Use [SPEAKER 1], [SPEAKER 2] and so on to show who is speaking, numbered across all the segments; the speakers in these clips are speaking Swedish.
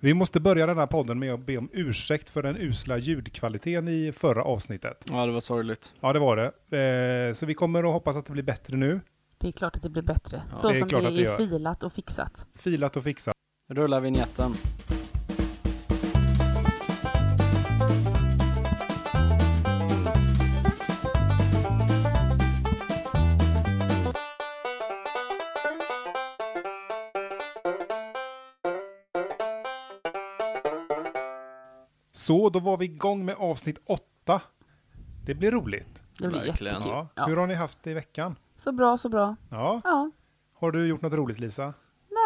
[SPEAKER 1] Vi måste börja den här podden med att be om ursäkt för den usla ljudkvaliteten i förra avsnittet.
[SPEAKER 2] Ja, det var sorgligt.
[SPEAKER 1] Ja, det var det. Eh, Så vi kommer att hoppas att det blir bättre nu.
[SPEAKER 3] Det är klart att det blir bättre.
[SPEAKER 2] Ja,
[SPEAKER 3] så
[SPEAKER 1] det är
[SPEAKER 3] som
[SPEAKER 1] klart
[SPEAKER 3] det
[SPEAKER 1] att det
[SPEAKER 3] är
[SPEAKER 1] gör.
[SPEAKER 3] filat och fixat.
[SPEAKER 1] Filat och fixat.
[SPEAKER 2] Rulla vignetten.
[SPEAKER 1] Så, då var vi igång med avsnitt åtta. Det blir roligt.
[SPEAKER 3] Det blir
[SPEAKER 2] Verkligen.
[SPEAKER 3] jättekul.
[SPEAKER 1] Ja.
[SPEAKER 3] Ja.
[SPEAKER 1] Hur har ni haft det i veckan?
[SPEAKER 3] Så bra, så bra.
[SPEAKER 1] Ja.
[SPEAKER 3] Ja.
[SPEAKER 1] Har du gjort något roligt, Lisa?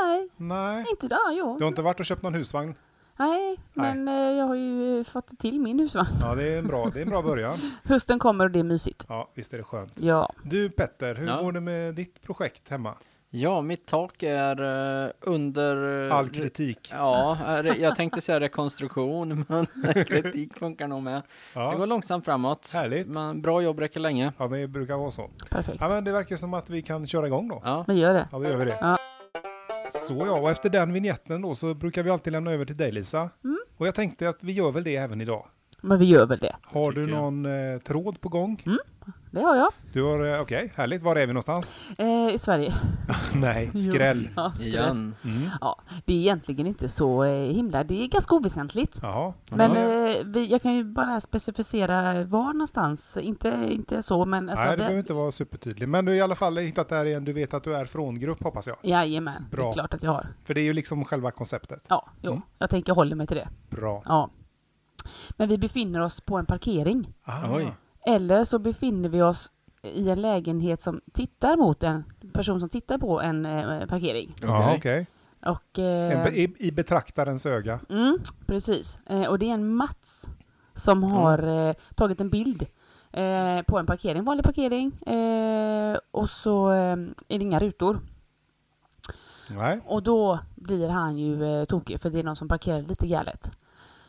[SPEAKER 3] Nej,
[SPEAKER 1] Nej.
[SPEAKER 3] inte det. Ja, jo.
[SPEAKER 1] Du har inte varit och köpt någon husvagn?
[SPEAKER 3] Nej, men eh, jag har ju eh, fått till min husvagn.
[SPEAKER 1] Ja, det är en bra, det är en bra början.
[SPEAKER 3] Hösten kommer och det är mysigt.
[SPEAKER 1] Ja, visst är det skönt.
[SPEAKER 3] Ja,
[SPEAKER 1] Du Petter, hur
[SPEAKER 2] Ja.
[SPEAKER 1] går det med ditt projekt hemma?
[SPEAKER 2] Ja, mitt tak är eh, under... eh,
[SPEAKER 1] All
[SPEAKER 2] re-
[SPEAKER 1] kritik.
[SPEAKER 2] Ja, eh, re- jag tänkte säga rekonstruktion, men kritik funkar nog med. Det går
[SPEAKER 1] Ja,
[SPEAKER 2] långsamt framåt,
[SPEAKER 1] härligt.
[SPEAKER 2] men bra jobb räcker länge.
[SPEAKER 1] Ja, det brukar vara så.
[SPEAKER 3] perfekt.
[SPEAKER 1] Ja, men det verkar som att vi kan köra igång då.
[SPEAKER 2] Ja,
[SPEAKER 3] Vi gör det.
[SPEAKER 1] Ja, då gör vi det.
[SPEAKER 3] Ja.
[SPEAKER 1] Så ja, och efter den vignetten då så brukar vi alltid lämna över till dig Lisa.
[SPEAKER 3] Mm.
[SPEAKER 1] Och jag tänkte att vi gör väl det även idag.
[SPEAKER 3] Men vi gör väl det. Mm.
[SPEAKER 1] Har du
[SPEAKER 2] tycker jag.
[SPEAKER 1] någon eh, tråd på gång?
[SPEAKER 3] Det har jag.
[SPEAKER 1] Du har, eh, okej, härligt. Var är vi någonstans?
[SPEAKER 3] Eh, I Sverige.
[SPEAKER 1] Nej, skräll.
[SPEAKER 3] Ja, skräll.
[SPEAKER 2] igen.
[SPEAKER 1] Mm.
[SPEAKER 3] Det är egentligen inte så eh, himla... Det är ganska oväsentligt.
[SPEAKER 1] Jaha.
[SPEAKER 3] Men
[SPEAKER 1] Ja,
[SPEAKER 3] eh, vi, jag kan ju bara specificera var någonstans. Inte, inte så, men... Alltså,
[SPEAKER 1] Nej, det
[SPEAKER 3] det-
[SPEAKER 1] behöver inte vara supertydligt. Men du har i alla fall hittat det här igen. Du vet att du är från grupp hoppas jag.
[SPEAKER 3] Jajamän, det
[SPEAKER 1] Bra.
[SPEAKER 3] är klart att jag har.
[SPEAKER 1] För det är ju liksom själva konceptet.
[SPEAKER 3] Ja, jo.
[SPEAKER 1] Mm.
[SPEAKER 3] Jag tänker jag håller mig till det.
[SPEAKER 1] Bra.
[SPEAKER 3] Ja. Men vi befinner oss på en parkering.
[SPEAKER 1] Ah.
[SPEAKER 2] Oj.
[SPEAKER 3] Eller så befinner vi oss i en lägenhet som tittar mot en person som tittar på en eh, parkering.
[SPEAKER 1] Ja,
[SPEAKER 2] Okej.
[SPEAKER 1] okej.
[SPEAKER 3] Och...
[SPEAKER 1] En
[SPEAKER 3] Eh,
[SPEAKER 1] be- I, I betraktarens öga.
[SPEAKER 3] mm, precis. Eh, och det är en Mats
[SPEAKER 1] Mm.
[SPEAKER 3] som har eh, tagit en bild eh, på en parkering, vanlig parkering. Eh, och så eh, är det inga rutor.
[SPEAKER 1] Nej.
[SPEAKER 3] Och då blir han ju eh, tokig för det är någon som parkerar lite galet.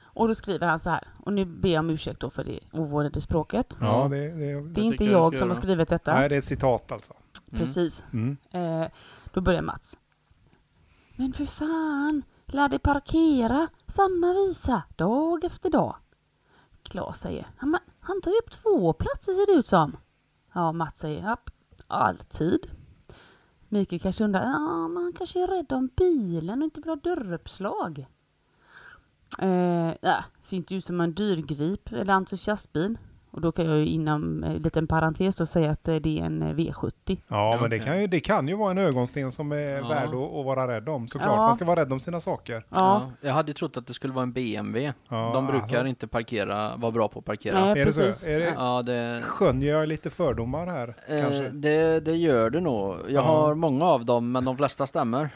[SPEAKER 3] Och då skriver han så här, och nu ber jag om ursäkt då för det ovårdade språket.
[SPEAKER 1] Ja,
[SPEAKER 2] Ja.
[SPEAKER 1] det, det,
[SPEAKER 3] Det är
[SPEAKER 2] Jag
[SPEAKER 3] inte
[SPEAKER 2] tycker jag
[SPEAKER 3] jag
[SPEAKER 2] ska
[SPEAKER 3] som har
[SPEAKER 2] göra.
[SPEAKER 3] skrivit detta.
[SPEAKER 1] Nej, det är ett citat alltså.
[SPEAKER 2] Mm.
[SPEAKER 3] Precis.
[SPEAKER 1] Mm.
[SPEAKER 3] Eh, då börjar Mats. Men för fan, lär dig parkera samma visa, dag efter dag. Klas säger, han, ma- han tar ju upp två platser ser det ut som. Ja, Mats säger, ja, alltid. Mikael kanske undrar, ja, men han kanske är rädd om bilen och inte vill ha dörruppslag. Eh, ja, ser inte ut som en dyrgrip eller entusiastbil. Och då kan jag ju inom eh, liten parentes då säga att eh, det är en eh, V70.
[SPEAKER 1] Ja,
[SPEAKER 2] Ja,
[SPEAKER 1] men det
[SPEAKER 2] okej.
[SPEAKER 1] kan, ju, det kan ju vara en ögonsten som är
[SPEAKER 2] Ja.
[SPEAKER 1] värd att, att vara rädd om såklart.
[SPEAKER 3] Ja.
[SPEAKER 1] Man ska vara rädd om sina saker.
[SPEAKER 3] ja.
[SPEAKER 2] Ja, jag hade ju trott att det skulle vara en BMW.
[SPEAKER 1] Ja,
[SPEAKER 2] De brukar
[SPEAKER 1] alltså.
[SPEAKER 2] inte parkera, vara bra på att parkera.
[SPEAKER 3] Nej. Ja,
[SPEAKER 1] är det
[SPEAKER 3] precis.
[SPEAKER 1] så? Är det,
[SPEAKER 2] Ja, det,
[SPEAKER 1] Skönjer jag lite fördomar här
[SPEAKER 2] eh,
[SPEAKER 1] kanske?
[SPEAKER 2] det, det gör det nog. Jag
[SPEAKER 1] Ja.
[SPEAKER 2] har många av dem, men de flesta stämmer.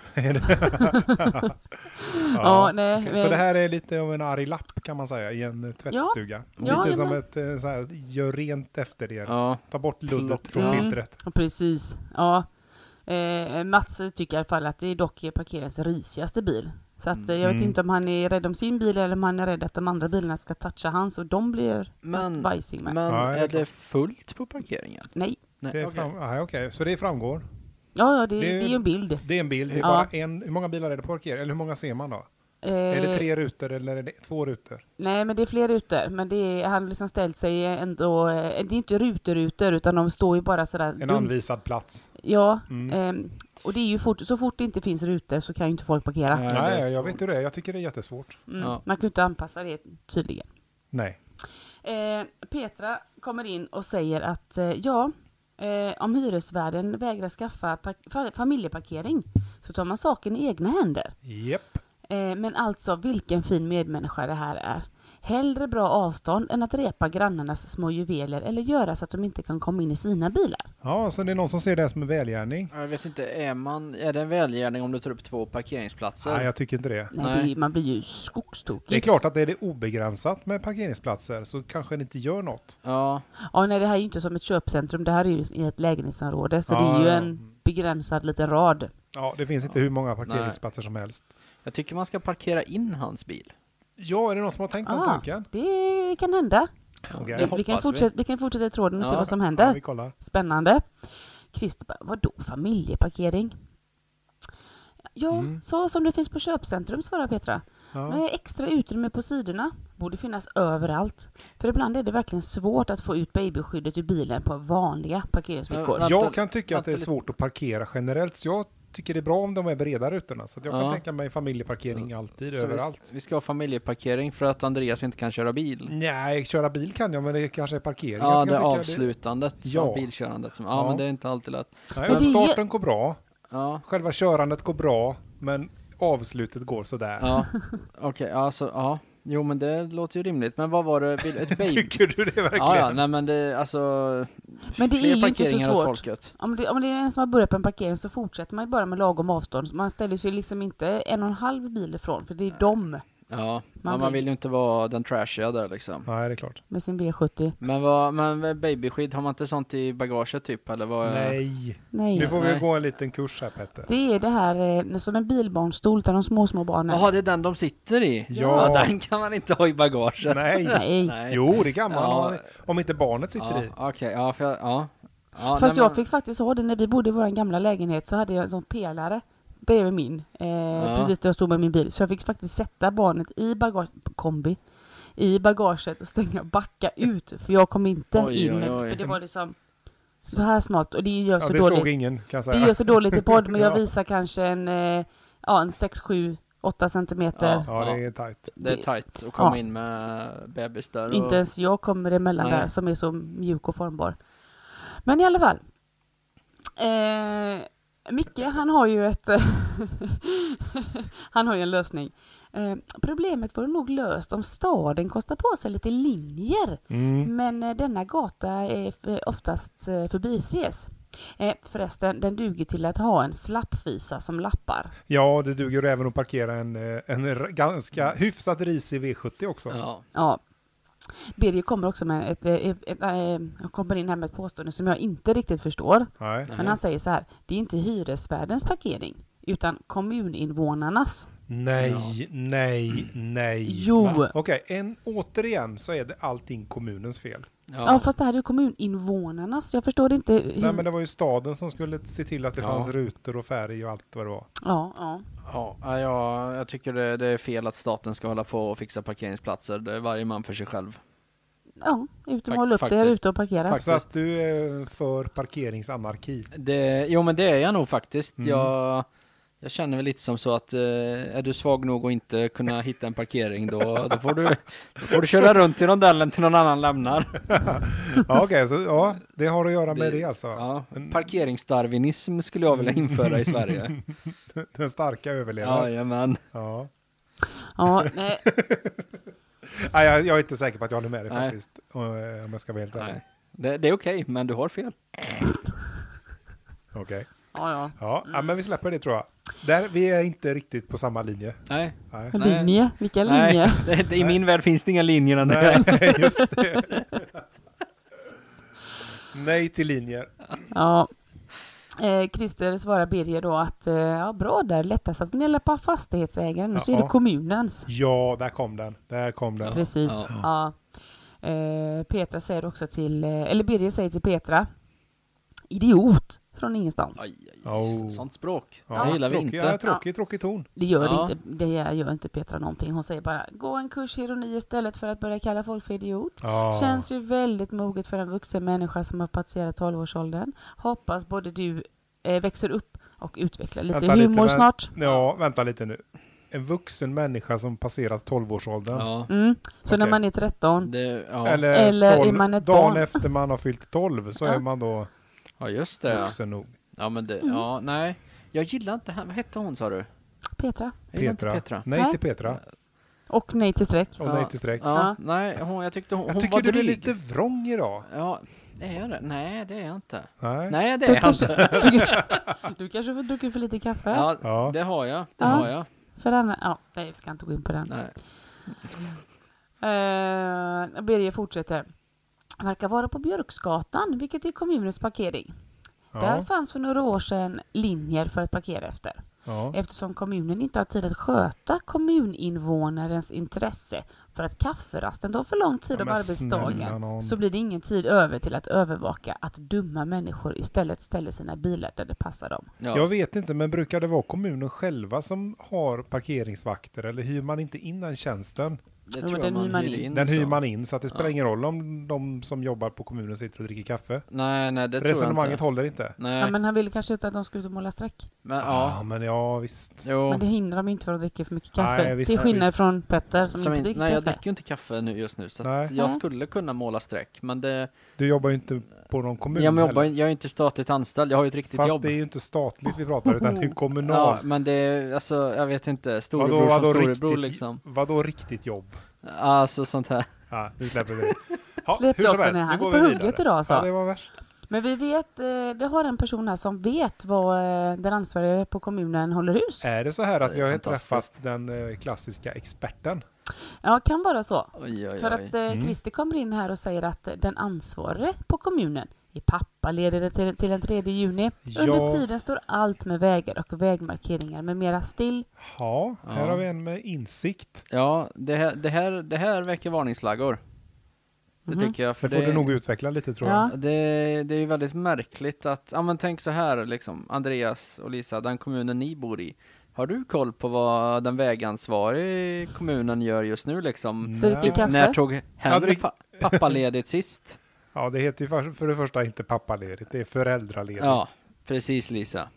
[SPEAKER 3] Ja, nej, eh,
[SPEAKER 1] okej.
[SPEAKER 3] men-
[SPEAKER 1] Så det här är lite av en arg lapp kan man säga i en eh, tvättstuga.
[SPEAKER 3] Ja,
[SPEAKER 1] lite som
[SPEAKER 3] men-
[SPEAKER 1] ett eh, så här, gör rent efter det.
[SPEAKER 2] Ja,
[SPEAKER 1] Ta bort luddet
[SPEAKER 2] Plock.
[SPEAKER 1] från
[SPEAKER 3] Ja.
[SPEAKER 1] filtret.
[SPEAKER 3] Ja, precis. Ja. Eh, Mats tycker i alla fall att det är dock parkerarens risigaste bil. Så att, eh, jag vet
[SPEAKER 1] Mm.
[SPEAKER 3] inte om han är rädd om sin bil eller om han är rädd att de andra bilarna ska toucha hans och de blir
[SPEAKER 2] Men-
[SPEAKER 3] bajsing med.
[SPEAKER 2] men
[SPEAKER 1] Ja, det är
[SPEAKER 2] är det fullt på parkeringen?
[SPEAKER 3] Nej.
[SPEAKER 2] Nej,
[SPEAKER 1] Det är
[SPEAKER 2] okej.
[SPEAKER 1] fram, ah, okej. Så det framgår.
[SPEAKER 3] Ja, ja det,
[SPEAKER 1] Det
[SPEAKER 3] det
[SPEAKER 1] är-
[SPEAKER 3] är ju en bild.
[SPEAKER 1] Det är en bild. Det är
[SPEAKER 3] Ja.
[SPEAKER 1] bara en, hur många bilar är det på parkering? Eller hur många ser man då? Är det
[SPEAKER 3] Eh,
[SPEAKER 1] tre rutor eller är det två rutor?
[SPEAKER 3] Nej, men det är fler rutor. Men det är, han har liksom ställt sig ändå... eh, Det är inte rutor-rutor, utan de står ju bara sådär...
[SPEAKER 1] En
[SPEAKER 3] dumt.
[SPEAKER 1] anvisad plats.
[SPEAKER 3] Ja.
[SPEAKER 1] Mm.
[SPEAKER 3] ehm, och det är ju fort, så fort det inte finns rutor så kan ju inte folk parkera.
[SPEAKER 2] Nej, det är
[SPEAKER 1] Nej, jag
[SPEAKER 2] så.
[SPEAKER 1] vet hur det är. Jag tycker det är jättesvårt.
[SPEAKER 3] Mm.
[SPEAKER 2] Ja.
[SPEAKER 3] Man kan ju inte anpassa det tydligen.
[SPEAKER 1] Nej.
[SPEAKER 3] Eh, Petra kommer in och säger att eh, ja, eh, om hyresvärden vägrar skaffa par- fa- familjeparkering så tar man saken i egna händer.
[SPEAKER 1] Japp.
[SPEAKER 3] Eh, men alltså, vilken fin medmänniska det här är. Hellre bra avstånd än att repa grannarnas små juveler eller göra så att de inte kan komma in i sina bilar.
[SPEAKER 1] Ja, så det är någon som ser det här som en välgärning?
[SPEAKER 2] Jag vet inte, är, man, är det en välgärning om du tar upp två parkeringsplatser?
[SPEAKER 1] Nej, jag tycker inte det.
[SPEAKER 3] Nej,
[SPEAKER 2] Nej.
[SPEAKER 3] Det, är- man blir ju skogstokig.
[SPEAKER 1] Det är klart att är det obegränsat med parkeringsplatser så kanske det inte gör något.
[SPEAKER 2] Ja,
[SPEAKER 3] Ja, nej, det här är ju inte som ett köpcentrum. Det här är ju i ett lägenhetsområde, så det
[SPEAKER 1] Ja,
[SPEAKER 3] är ju
[SPEAKER 1] ja.
[SPEAKER 3] en begränsad liten rad.
[SPEAKER 1] Ja, det finns inte hur många parkeringsplatser som helst.
[SPEAKER 2] jag tycker man ska parkera in hans bil.
[SPEAKER 1] Ja, är det någon som har tänkt den
[SPEAKER 3] Ah,
[SPEAKER 1] tanken?
[SPEAKER 3] Det kan hända.
[SPEAKER 1] Okej.
[SPEAKER 2] Det
[SPEAKER 3] Vi, vi, kan
[SPEAKER 2] hoppas vi.
[SPEAKER 3] fortsätta, vi kan fortsätta i tråden och se
[SPEAKER 2] Ja,
[SPEAKER 3] vad som
[SPEAKER 1] Ja,
[SPEAKER 3] händer.
[SPEAKER 1] vi kollar.
[SPEAKER 3] Spännande. Christer bara, vadå familjeparkering? Ja,
[SPEAKER 1] Mm.
[SPEAKER 3] så som det finns på köpcentrum, svarar Petra.
[SPEAKER 1] Ja.
[SPEAKER 3] Med extra utrymme på sidorna. Borde finnas överallt. För ibland är det verkligen svårt att få ut babyskyddet ur bilen på vanliga parkeringsfickor.
[SPEAKER 2] Ja,
[SPEAKER 1] Jag
[SPEAKER 2] vänta-
[SPEAKER 1] kan tycka att det är
[SPEAKER 2] vänta lite.
[SPEAKER 1] svårt att parkera generellt, så jag tycker det är bra om de är breda rutorna. Så att jag kan
[SPEAKER 2] Ja.
[SPEAKER 1] tänka mig familjeparkering alltid,
[SPEAKER 2] Så
[SPEAKER 1] överallt.
[SPEAKER 2] Vi, vi ska ha familjeparkering för att Andreas inte kan köra bil.
[SPEAKER 1] Nej, köra bil kan jag, men det kanske är parkering.
[SPEAKER 2] Ja,
[SPEAKER 1] jag
[SPEAKER 2] det är
[SPEAKER 1] kan tycka
[SPEAKER 2] avslutandet,
[SPEAKER 1] Ja.
[SPEAKER 2] ja. bilkörandet. Som, ja,
[SPEAKER 1] Ja.
[SPEAKER 2] men det är inte alltid lätt.
[SPEAKER 1] Nej,
[SPEAKER 3] Men
[SPEAKER 1] men
[SPEAKER 3] det är-
[SPEAKER 1] starten går bra,
[SPEAKER 2] Ja,
[SPEAKER 1] själva körandet går bra, men avslutet går sådär.
[SPEAKER 2] ja. okej, ja, så, ja. Jo, men det låter ju rimligt. Men vad var det, vill- ett baby?
[SPEAKER 1] Tycker du det verkligen?
[SPEAKER 2] Ja, ja, nej men det, alltså,
[SPEAKER 3] Men det
[SPEAKER 2] fler
[SPEAKER 3] är ju inte så
[SPEAKER 2] parkeringar åt
[SPEAKER 3] svårt.
[SPEAKER 2] folket.
[SPEAKER 3] Om det, om det är en som har börjat på en parkering så fortsätter man ju bara med lagom avstånd. Man ställer sig liksom inte en och en halv bil ifrån, för det är dem
[SPEAKER 2] Ja,
[SPEAKER 3] Man
[SPEAKER 2] man, ja, man
[SPEAKER 3] vill-
[SPEAKER 2] vill ju inte vara den trashiga där liksom.
[SPEAKER 1] Nej, det är klart.
[SPEAKER 3] med sin B70.
[SPEAKER 2] Men vad, men babyskydd, har man inte sånt i bagaget typ eller vad?
[SPEAKER 1] Nej. Nu
[SPEAKER 3] Nej.
[SPEAKER 1] får vi
[SPEAKER 2] Nej.
[SPEAKER 1] gå en liten kurs här Petter.
[SPEAKER 3] Det är det här eh, som en bilbarnstol där de små, små barnen.
[SPEAKER 2] Jaha, det är den de sitter i?
[SPEAKER 1] Ja.
[SPEAKER 2] den kan man inte ha i bagaget.
[SPEAKER 1] Nej.
[SPEAKER 3] Nej.
[SPEAKER 2] Nej.
[SPEAKER 1] Jo, det kan man
[SPEAKER 2] Ja.
[SPEAKER 1] om, man- om inte barnet sitter
[SPEAKER 2] ja,
[SPEAKER 1] i.
[SPEAKER 2] Okej, ja, för jag, ja. ja
[SPEAKER 3] Fast
[SPEAKER 2] nej,
[SPEAKER 3] jag
[SPEAKER 2] men-
[SPEAKER 3] fick faktiskt ha det när vi bodde i vår gamla lägenhet så hade jag en sån pelare bredvid min. Eh, Precis där jag stod med min bil. Så jag fick faktiskt sätta barnet i bagage, kombi, i bagaget och stänga backa ut. För jag kom inte
[SPEAKER 2] Oj,
[SPEAKER 3] in.
[SPEAKER 2] oj, oj.
[SPEAKER 3] För det var liksom så här smalt. Och det gör
[SPEAKER 1] Ja,
[SPEAKER 3] så
[SPEAKER 1] det såg
[SPEAKER 3] dåligt.
[SPEAKER 1] ingen kan jag
[SPEAKER 3] Det
[SPEAKER 1] säga.
[SPEAKER 3] gör så dåligt i podd men jag
[SPEAKER 1] Ja.
[SPEAKER 3] visar kanske en, eh, ja, en 6, 7, 8 centimeter.
[SPEAKER 2] Ja.
[SPEAKER 1] Ja, det är tajt.
[SPEAKER 2] Det är tajt att komma
[SPEAKER 3] Ja.
[SPEAKER 2] in med bebis där.
[SPEAKER 3] Inte ens jag kommer emellan
[SPEAKER 2] Nej.
[SPEAKER 3] där som är så mjuk och formbar. Men i alla fall. Eh, Micke han har ju ett... han har ju en lösning. Eh, problemet vore nog löst om staden kostar på sig lite linjer.
[SPEAKER 1] Mm.
[SPEAKER 3] Men eh, denna gata är f- oftast eh, förbises. Eh, förresten, den duger till att ha en slappvisa som lappar.
[SPEAKER 1] Ja, det duger även att parkera en, eh, en r- ganska hyfsat risig V70 också.
[SPEAKER 2] Ja.
[SPEAKER 3] Ja. Birger kommer också med ett, ett, ett, eh, kommer in här med ett påstående som jag inte riktigt förstår.
[SPEAKER 1] Nej.
[SPEAKER 3] Men han säger så här, det är inte hyresvärdens parkering, utan kommuninvånarnas.
[SPEAKER 1] Nej, nej, nej.
[SPEAKER 3] Jo!
[SPEAKER 2] va?
[SPEAKER 1] Okej, en, återigen så är det allting kommunens fel.
[SPEAKER 3] Ja. fast det här är ju kommuninvånarnas, jag förstår inte hur...
[SPEAKER 2] Mm.
[SPEAKER 1] Nej, men det var ju staden som skulle se till att det
[SPEAKER 2] Ja.
[SPEAKER 1] fanns rutor och färg och allt vad det var.
[SPEAKER 3] Ja, ja.
[SPEAKER 2] Ja, ja, ja, jag tycker det, det är fel att staten ska hålla på och fixa parkeringsplatser. Det är varje man för sig själv.
[SPEAKER 3] Ja, ut och
[SPEAKER 2] Fak-
[SPEAKER 3] håll upp det,
[SPEAKER 2] faktiskt.
[SPEAKER 3] ute och parkera.
[SPEAKER 2] Faktiskt.
[SPEAKER 1] Så att du är för parkeringsanarki.
[SPEAKER 2] Det, jo, men det är jag nog faktiskt.
[SPEAKER 1] Mm.
[SPEAKER 2] Jag, jag känner väl lite som så att eh, är du svag nog och inte kunna hitta en parkering då, då, får, du, då får du köra runt i rondellen till någon annan lämnar.
[SPEAKER 1] Ja, okej, så ja, det har att göra med det,
[SPEAKER 2] Det-
[SPEAKER 1] alltså.
[SPEAKER 2] Ja,
[SPEAKER 1] Men-
[SPEAKER 2] parkeringsdarwinism skulle jag vilja införa i Sverige.
[SPEAKER 1] Den starka överlevaren.
[SPEAKER 2] Jajamän.
[SPEAKER 1] Ja.
[SPEAKER 3] Ja, nej,
[SPEAKER 1] Nej, jag, jag är inte säker på att jag håller med dig
[SPEAKER 2] Nej.
[SPEAKER 1] faktiskt. eh, Om jag ska vara helt ärlig.
[SPEAKER 2] Nej. Det, det är okej, men du har fel.
[SPEAKER 1] Okej.
[SPEAKER 3] ja, ja.
[SPEAKER 1] Ja, ja, men vi släpper det tror jag. Där, vi är inte riktigt på samma linje.
[SPEAKER 2] Nej,
[SPEAKER 1] Nej.
[SPEAKER 2] Nej.
[SPEAKER 3] Linje, vilken
[SPEAKER 2] nej.
[SPEAKER 3] linje?
[SPEAKER 2] Det, det, i min värld finns det inga linjer. Andreas.
[SPEAKER 1] Nej, just det. Nej till linjer.
[SPEAKER 3] Ja. Eh, Christer svarar Birger då att eh, ja, bra där, lättast att gnälla på fastighetsägaren, nu så är
[SPEAKER 1] Ja.
[SPEAKER 3] det kommunens.
[SPEAKER 1] Ja, där kom den. Där kom den.
[SPEAKER 3] Precis. Ja.
[SPEAKER 2] Ja.
[SPEAKER 3] Eh, Petra säger också till, eh, eller Birger säger till Petra, idiot från ingenstans.
[SPEAKER 2] Aj, aj,
[SPEAKER 1] Oh.
[SPEAKER 2] aj. Sånt språk.
[SPEAKER 1] Ja,
[SPEAKER 2] det gillar vi
[SPEAKER 1] tråkig,
[SPEAKER 2] inte.
[SPEAKER 1] Ja, tråkig, tråkig ton.
[SPEAKER 3] Det gör
[SPEAKER 2] Ja.
[SPEAKER 3] inte, det gör inte Petra någonting. Hon säger bara, gå en kurs i ironi istället för att börja kalla folk för idiot.
[SPEAKER 1] Ja.
[SPEAKER 3] Känns ju väldigt moget för en vuxen människa som har passerat 12-årsåldern. Hoppas både du eh, växer upp och utvecklar lite
[SPEAKER 1] Vänta
[SPEAKER 3] humor
[SPEAKER 1] vänt-
[SPEAKER 3] snart.
[SPEAKER 1] Ja, vänta lite nu. En vuxen människa som passerat 12-årsåldern.
[SPEAKER 2] Ja.
[SPEAKER 3] Mm. Så
[SPEAKER 1] Okej.
[SPEAKER 3] när man är 13,
[SPEAKER 2] Det, ja.
[SPEAKER 1] Eller,
[SPEAKER 3] Eller är
[SPEAKER 1] 12,
[SPEAKER 3] man ett
[SPEAKER 1] dagen
[SPEAKER 3] barn?
[SPEAKER 1] efter man har fyllt 12 så
[SPEAKER 3] Ja.
[SPEAKER 1] är man då
[SPEAKER 2] ja, just det. ja.
[SPEAKER 1] vuxen nog.
[SPEAKER 2] Ja, men det,
[SPEAKER 3] Mm.
[SPEAKER 2] ja, nej. Jag gillar inte henne. Vad hette hon sa du?
[SPEAKER 3] Petra.
[SPEAKER 2] Jag gillar inte
[SPEAKER 1] Petra.
[SPEAKER 2] Petra.
[SPEAKER 1] Nej
[SPEAKER 3] Nej.
[SPEAKER 1] till Petra.
[SPEAKER 3] Och nej till streck.
[SPEAKER 1] Och
[SPEAKER 2] Ja.
[SPEAKER 1] nej till streck.
[SPEAKER 2] Ja,
[SPEAKER 3] Ja.
[SPEAKER 2] nej, hon, jag tyckte hon,
[SPEAKER 1] Jag
[SPEAKER 2] hon
[SPEAKER 1] tycker
[SPEAKER 2] var
[SPEAKER 1] du är
[SPEAKER 2] dryg.
[SPEAKER 1] lite vrång idag.
[SPEAKER 2] Ja, är jag det? Nej, det är jag inte.
[SPEAKER 1] Nej.
[SPEAKER 2] Nej, det
[SPEAKER 3] Du
[SPEAKER 2] är jag inte.
[SPEAKER 3] kanske, du, du kanske får druckit för lite kaffe?
[SPEAKER 2] Ja,
[SPEAKER 1] Ja.
[SPEAKER 2] det har jag. Det
[SPEAKER 3] Ja.
[SPEAKER 2] har jag.
[SPEAKER 3] För den, ja, nej, vi ska inte gå in på den.
[SPEAKER 2] Nej.
[SPEAKER 3] Eh, Birger fortsätter. Verkar vara på Björksgatan, vilket är kommunens parkering. Där
[SPEAKER 1] Ja.
[SPEAKER 3] fanns för några år sedan linjer för att parkera efter.
[SPEAKER 1] Ja.
[SPEAKER 3] eftersom kommunen inte har tid att sköta kommuninvånarens intresse för att kafferasten tar för lång tid
[SPEAKER 1] Ja,
[SPEAKER 3] av
[SPEAKER 1] men snälla
[SPEAKER 3] arbetsdagen
[SPEAKER 1] nån.
[SPEAKER 3] så blir det ingen tid över till att övervaka att dumma människor istället ställer sina bilar där det passar dem.
[SPEAKER 2] Ja,
[SPEAKER 1] Jag vet inte, men brukar det vara kommunen själva som har parkeringsvakter eller hyr man inte in den tjänsten?
[SPEAKER 2] det
[SPEAKER 3] Jo,
[SPEAKER 2] tror
[SPEAKER 3] den
[SPEAKER 2] jag
[SPEAKER 3] hyr
[SPEAKER 2] man
[SPEAKER 3] man
[SPEAKER 2] hyr
[SPEAKER 3] in.
[SPEAKER 2] in.
[SPEAKER 1] Den
[SPEAKER 2] så.
[SPEAKER 1] hyr man in så att det spelar
[SPEAKER 2] Ja.
[SPEAKER 1] ingen roll om de som jobbar på kommunen sitter och dricker kaffe.
[SPEAKER 2] Nej, nej, det tror jag
[SPEAKER 1] Resonemanget
[SPEAKER 2] inte.
[SPEAKER 1] håller Ah. inte.
[SPEAKER 2] Nej,
[SPEAKER 3] Ja,
[SPEAKER 2] men,
[SPEAKER 3] men han ville kanske inte att de skulle ut och måla streck.
[SPEAKER 1] Ja,
[SPEAKER 2] ja.
[SPEAKER 1] men ja visst.
[SPEAKER 2] Jo.
[SPEAKER 3] Men det hindrar dem ju inte för att de dricker för mycket kaffe.
[SPEAKER 1] Nej, visst,
[SPEAKER 3] till skillnad
[SPEAKER 1] visst.
[SPEAKER 3] från Petter som,
[SPEAKER 2] Som
[SPEAKER 3] inte
[SPEAKER 2] inte,
[SPEAKER 3] dricker
[SPEAKER 2] nej, jag
[SPEAKER 3] kaffe.
[SPEAKER 2] dricker ju inte kaffe nu just nu, så att
[SPEAKER 1] Nej.
[SPEAKER 2] jag
[SPEAKER 3] Nej.
[SPEAKER 2] skulle kunna måla streck. Men det,
[SPEAKER 1] Du jobbar ju inte på någon kommun.
[SPEAKER 2] jag, jobbar,
[SPEAKER 1] heller.
[SPEAKER 2] jag är inte statligt anställd, jag har ju ett riktigt
[SPEAKER 1] Fast
[SPEAKER 2] jobb.
[SPEAKER 1] det är ju inte statligt vi pratar utan det är ju
[SPEAKER 2] Ja,
[SPEAKER 1] kommunalt.
[SPEAKER 2] men det är, alltså, jag vet inte, storebror
[SPEAKER 1] vadå, vadå,
[SPEAKER 2] som storebror
[SPEAKER 1] riktigt,
[SPEAKER 2] liksom.
[SPEAKER 1] vadå riktigt jobb?
[SPEAKER 2] Alltså sånt här.
[SPEAKER 1] Ja, nu släpper vi det. Ja,
[SPEAKER 3] Släpp
[SPEAKER 1] hur
[SPEAKER 3] det
[SPEAKER 1] som
[SPEAKER 3] också
[SPEAKER 1] helst,
[SPEAKER 3] när
[SPEAKER 1] nu
[SPEAKER 3] han
[SPEAKER 1] går
[SPEAKER 3] är på
[SPEAKER 1] vi
[SPEAKER 3] hugget
[SPEAKER 1] vidare.
[SPEAKER 3] idag,
[SPEAKER 2] alltså.
[SPEAKER 3] så.
[SPEAKER 1] Ja, det var värst.
[SPEAKER 3] Men vi vet, eh, vi har en person här som vet vad eh, den ansvariga på kommunen håller hus.
[SPEAKER 1] Är det så här att
[SPEAKER 2] Det är
[SPEAKER 1] vi har
[SPEAKER 2] fantastiskt.
[SPEAKER 1] träffat den eh, klassiska experten?
[SPEAKER 3] Ja, kan vara så.
[SPEAKER 2] Oj, oj,
[SPEAKER 3] För
[SPEAKER 2] oj.
[SPEAKER 3] att eh,
[SPEAKER 1] Mm.
[SPEAKER 3] Christer kommer in här och säger att eh, den ansvarige på kommunen är pappaledig till, till den 3 juni.
[SPEAKER 1] Ja.
[SPEAKER 3] Under tiden står allt med vägar och vägmarkeringar med mera still.
[SPEAKER 1] Ja, här
[SPEAKER 2] Ja.
[SPEAKER 1] har vi en med insikt.
[SPEAKER 2] Ja, det här, det, här, det här väcker varningsflaggor. Det
[SPEAKER 3] Mhm.
[SPEAKER 2] tycker jag. För
[SPEAKER 1] Det får
[SPEAKER 2] det,
[SPEAKER 1] du nog utveckla lite tror
[SPEAKER 3] Ja.
[SPEAKER 1] jag.
[SPEAKER 2] Det, det är ju väldigt märkligt att, ja men tänk så här liksom, Andreas och Lisa, den kommunen ni bor i. Har du koll på vad den vägansvarige i kommunen gör just nu liksom?
[SPEAKER 1] Nej.
[SPEAKER 3] Dricker kaffe.
[SPEAKER 2] När tog
[SPEAKER 1] Mm. Ja,
[SPEAKER 2] hen
[SPEAKER 1] drick-
[SPEAKER 2] pa- pappaledigt sist?
[SPEAKER 1] Ja, det heter ju för, för det första inte pappaledigt, det är föräldraledigt.
[SPEAKER 2] Ja, precis Lisa.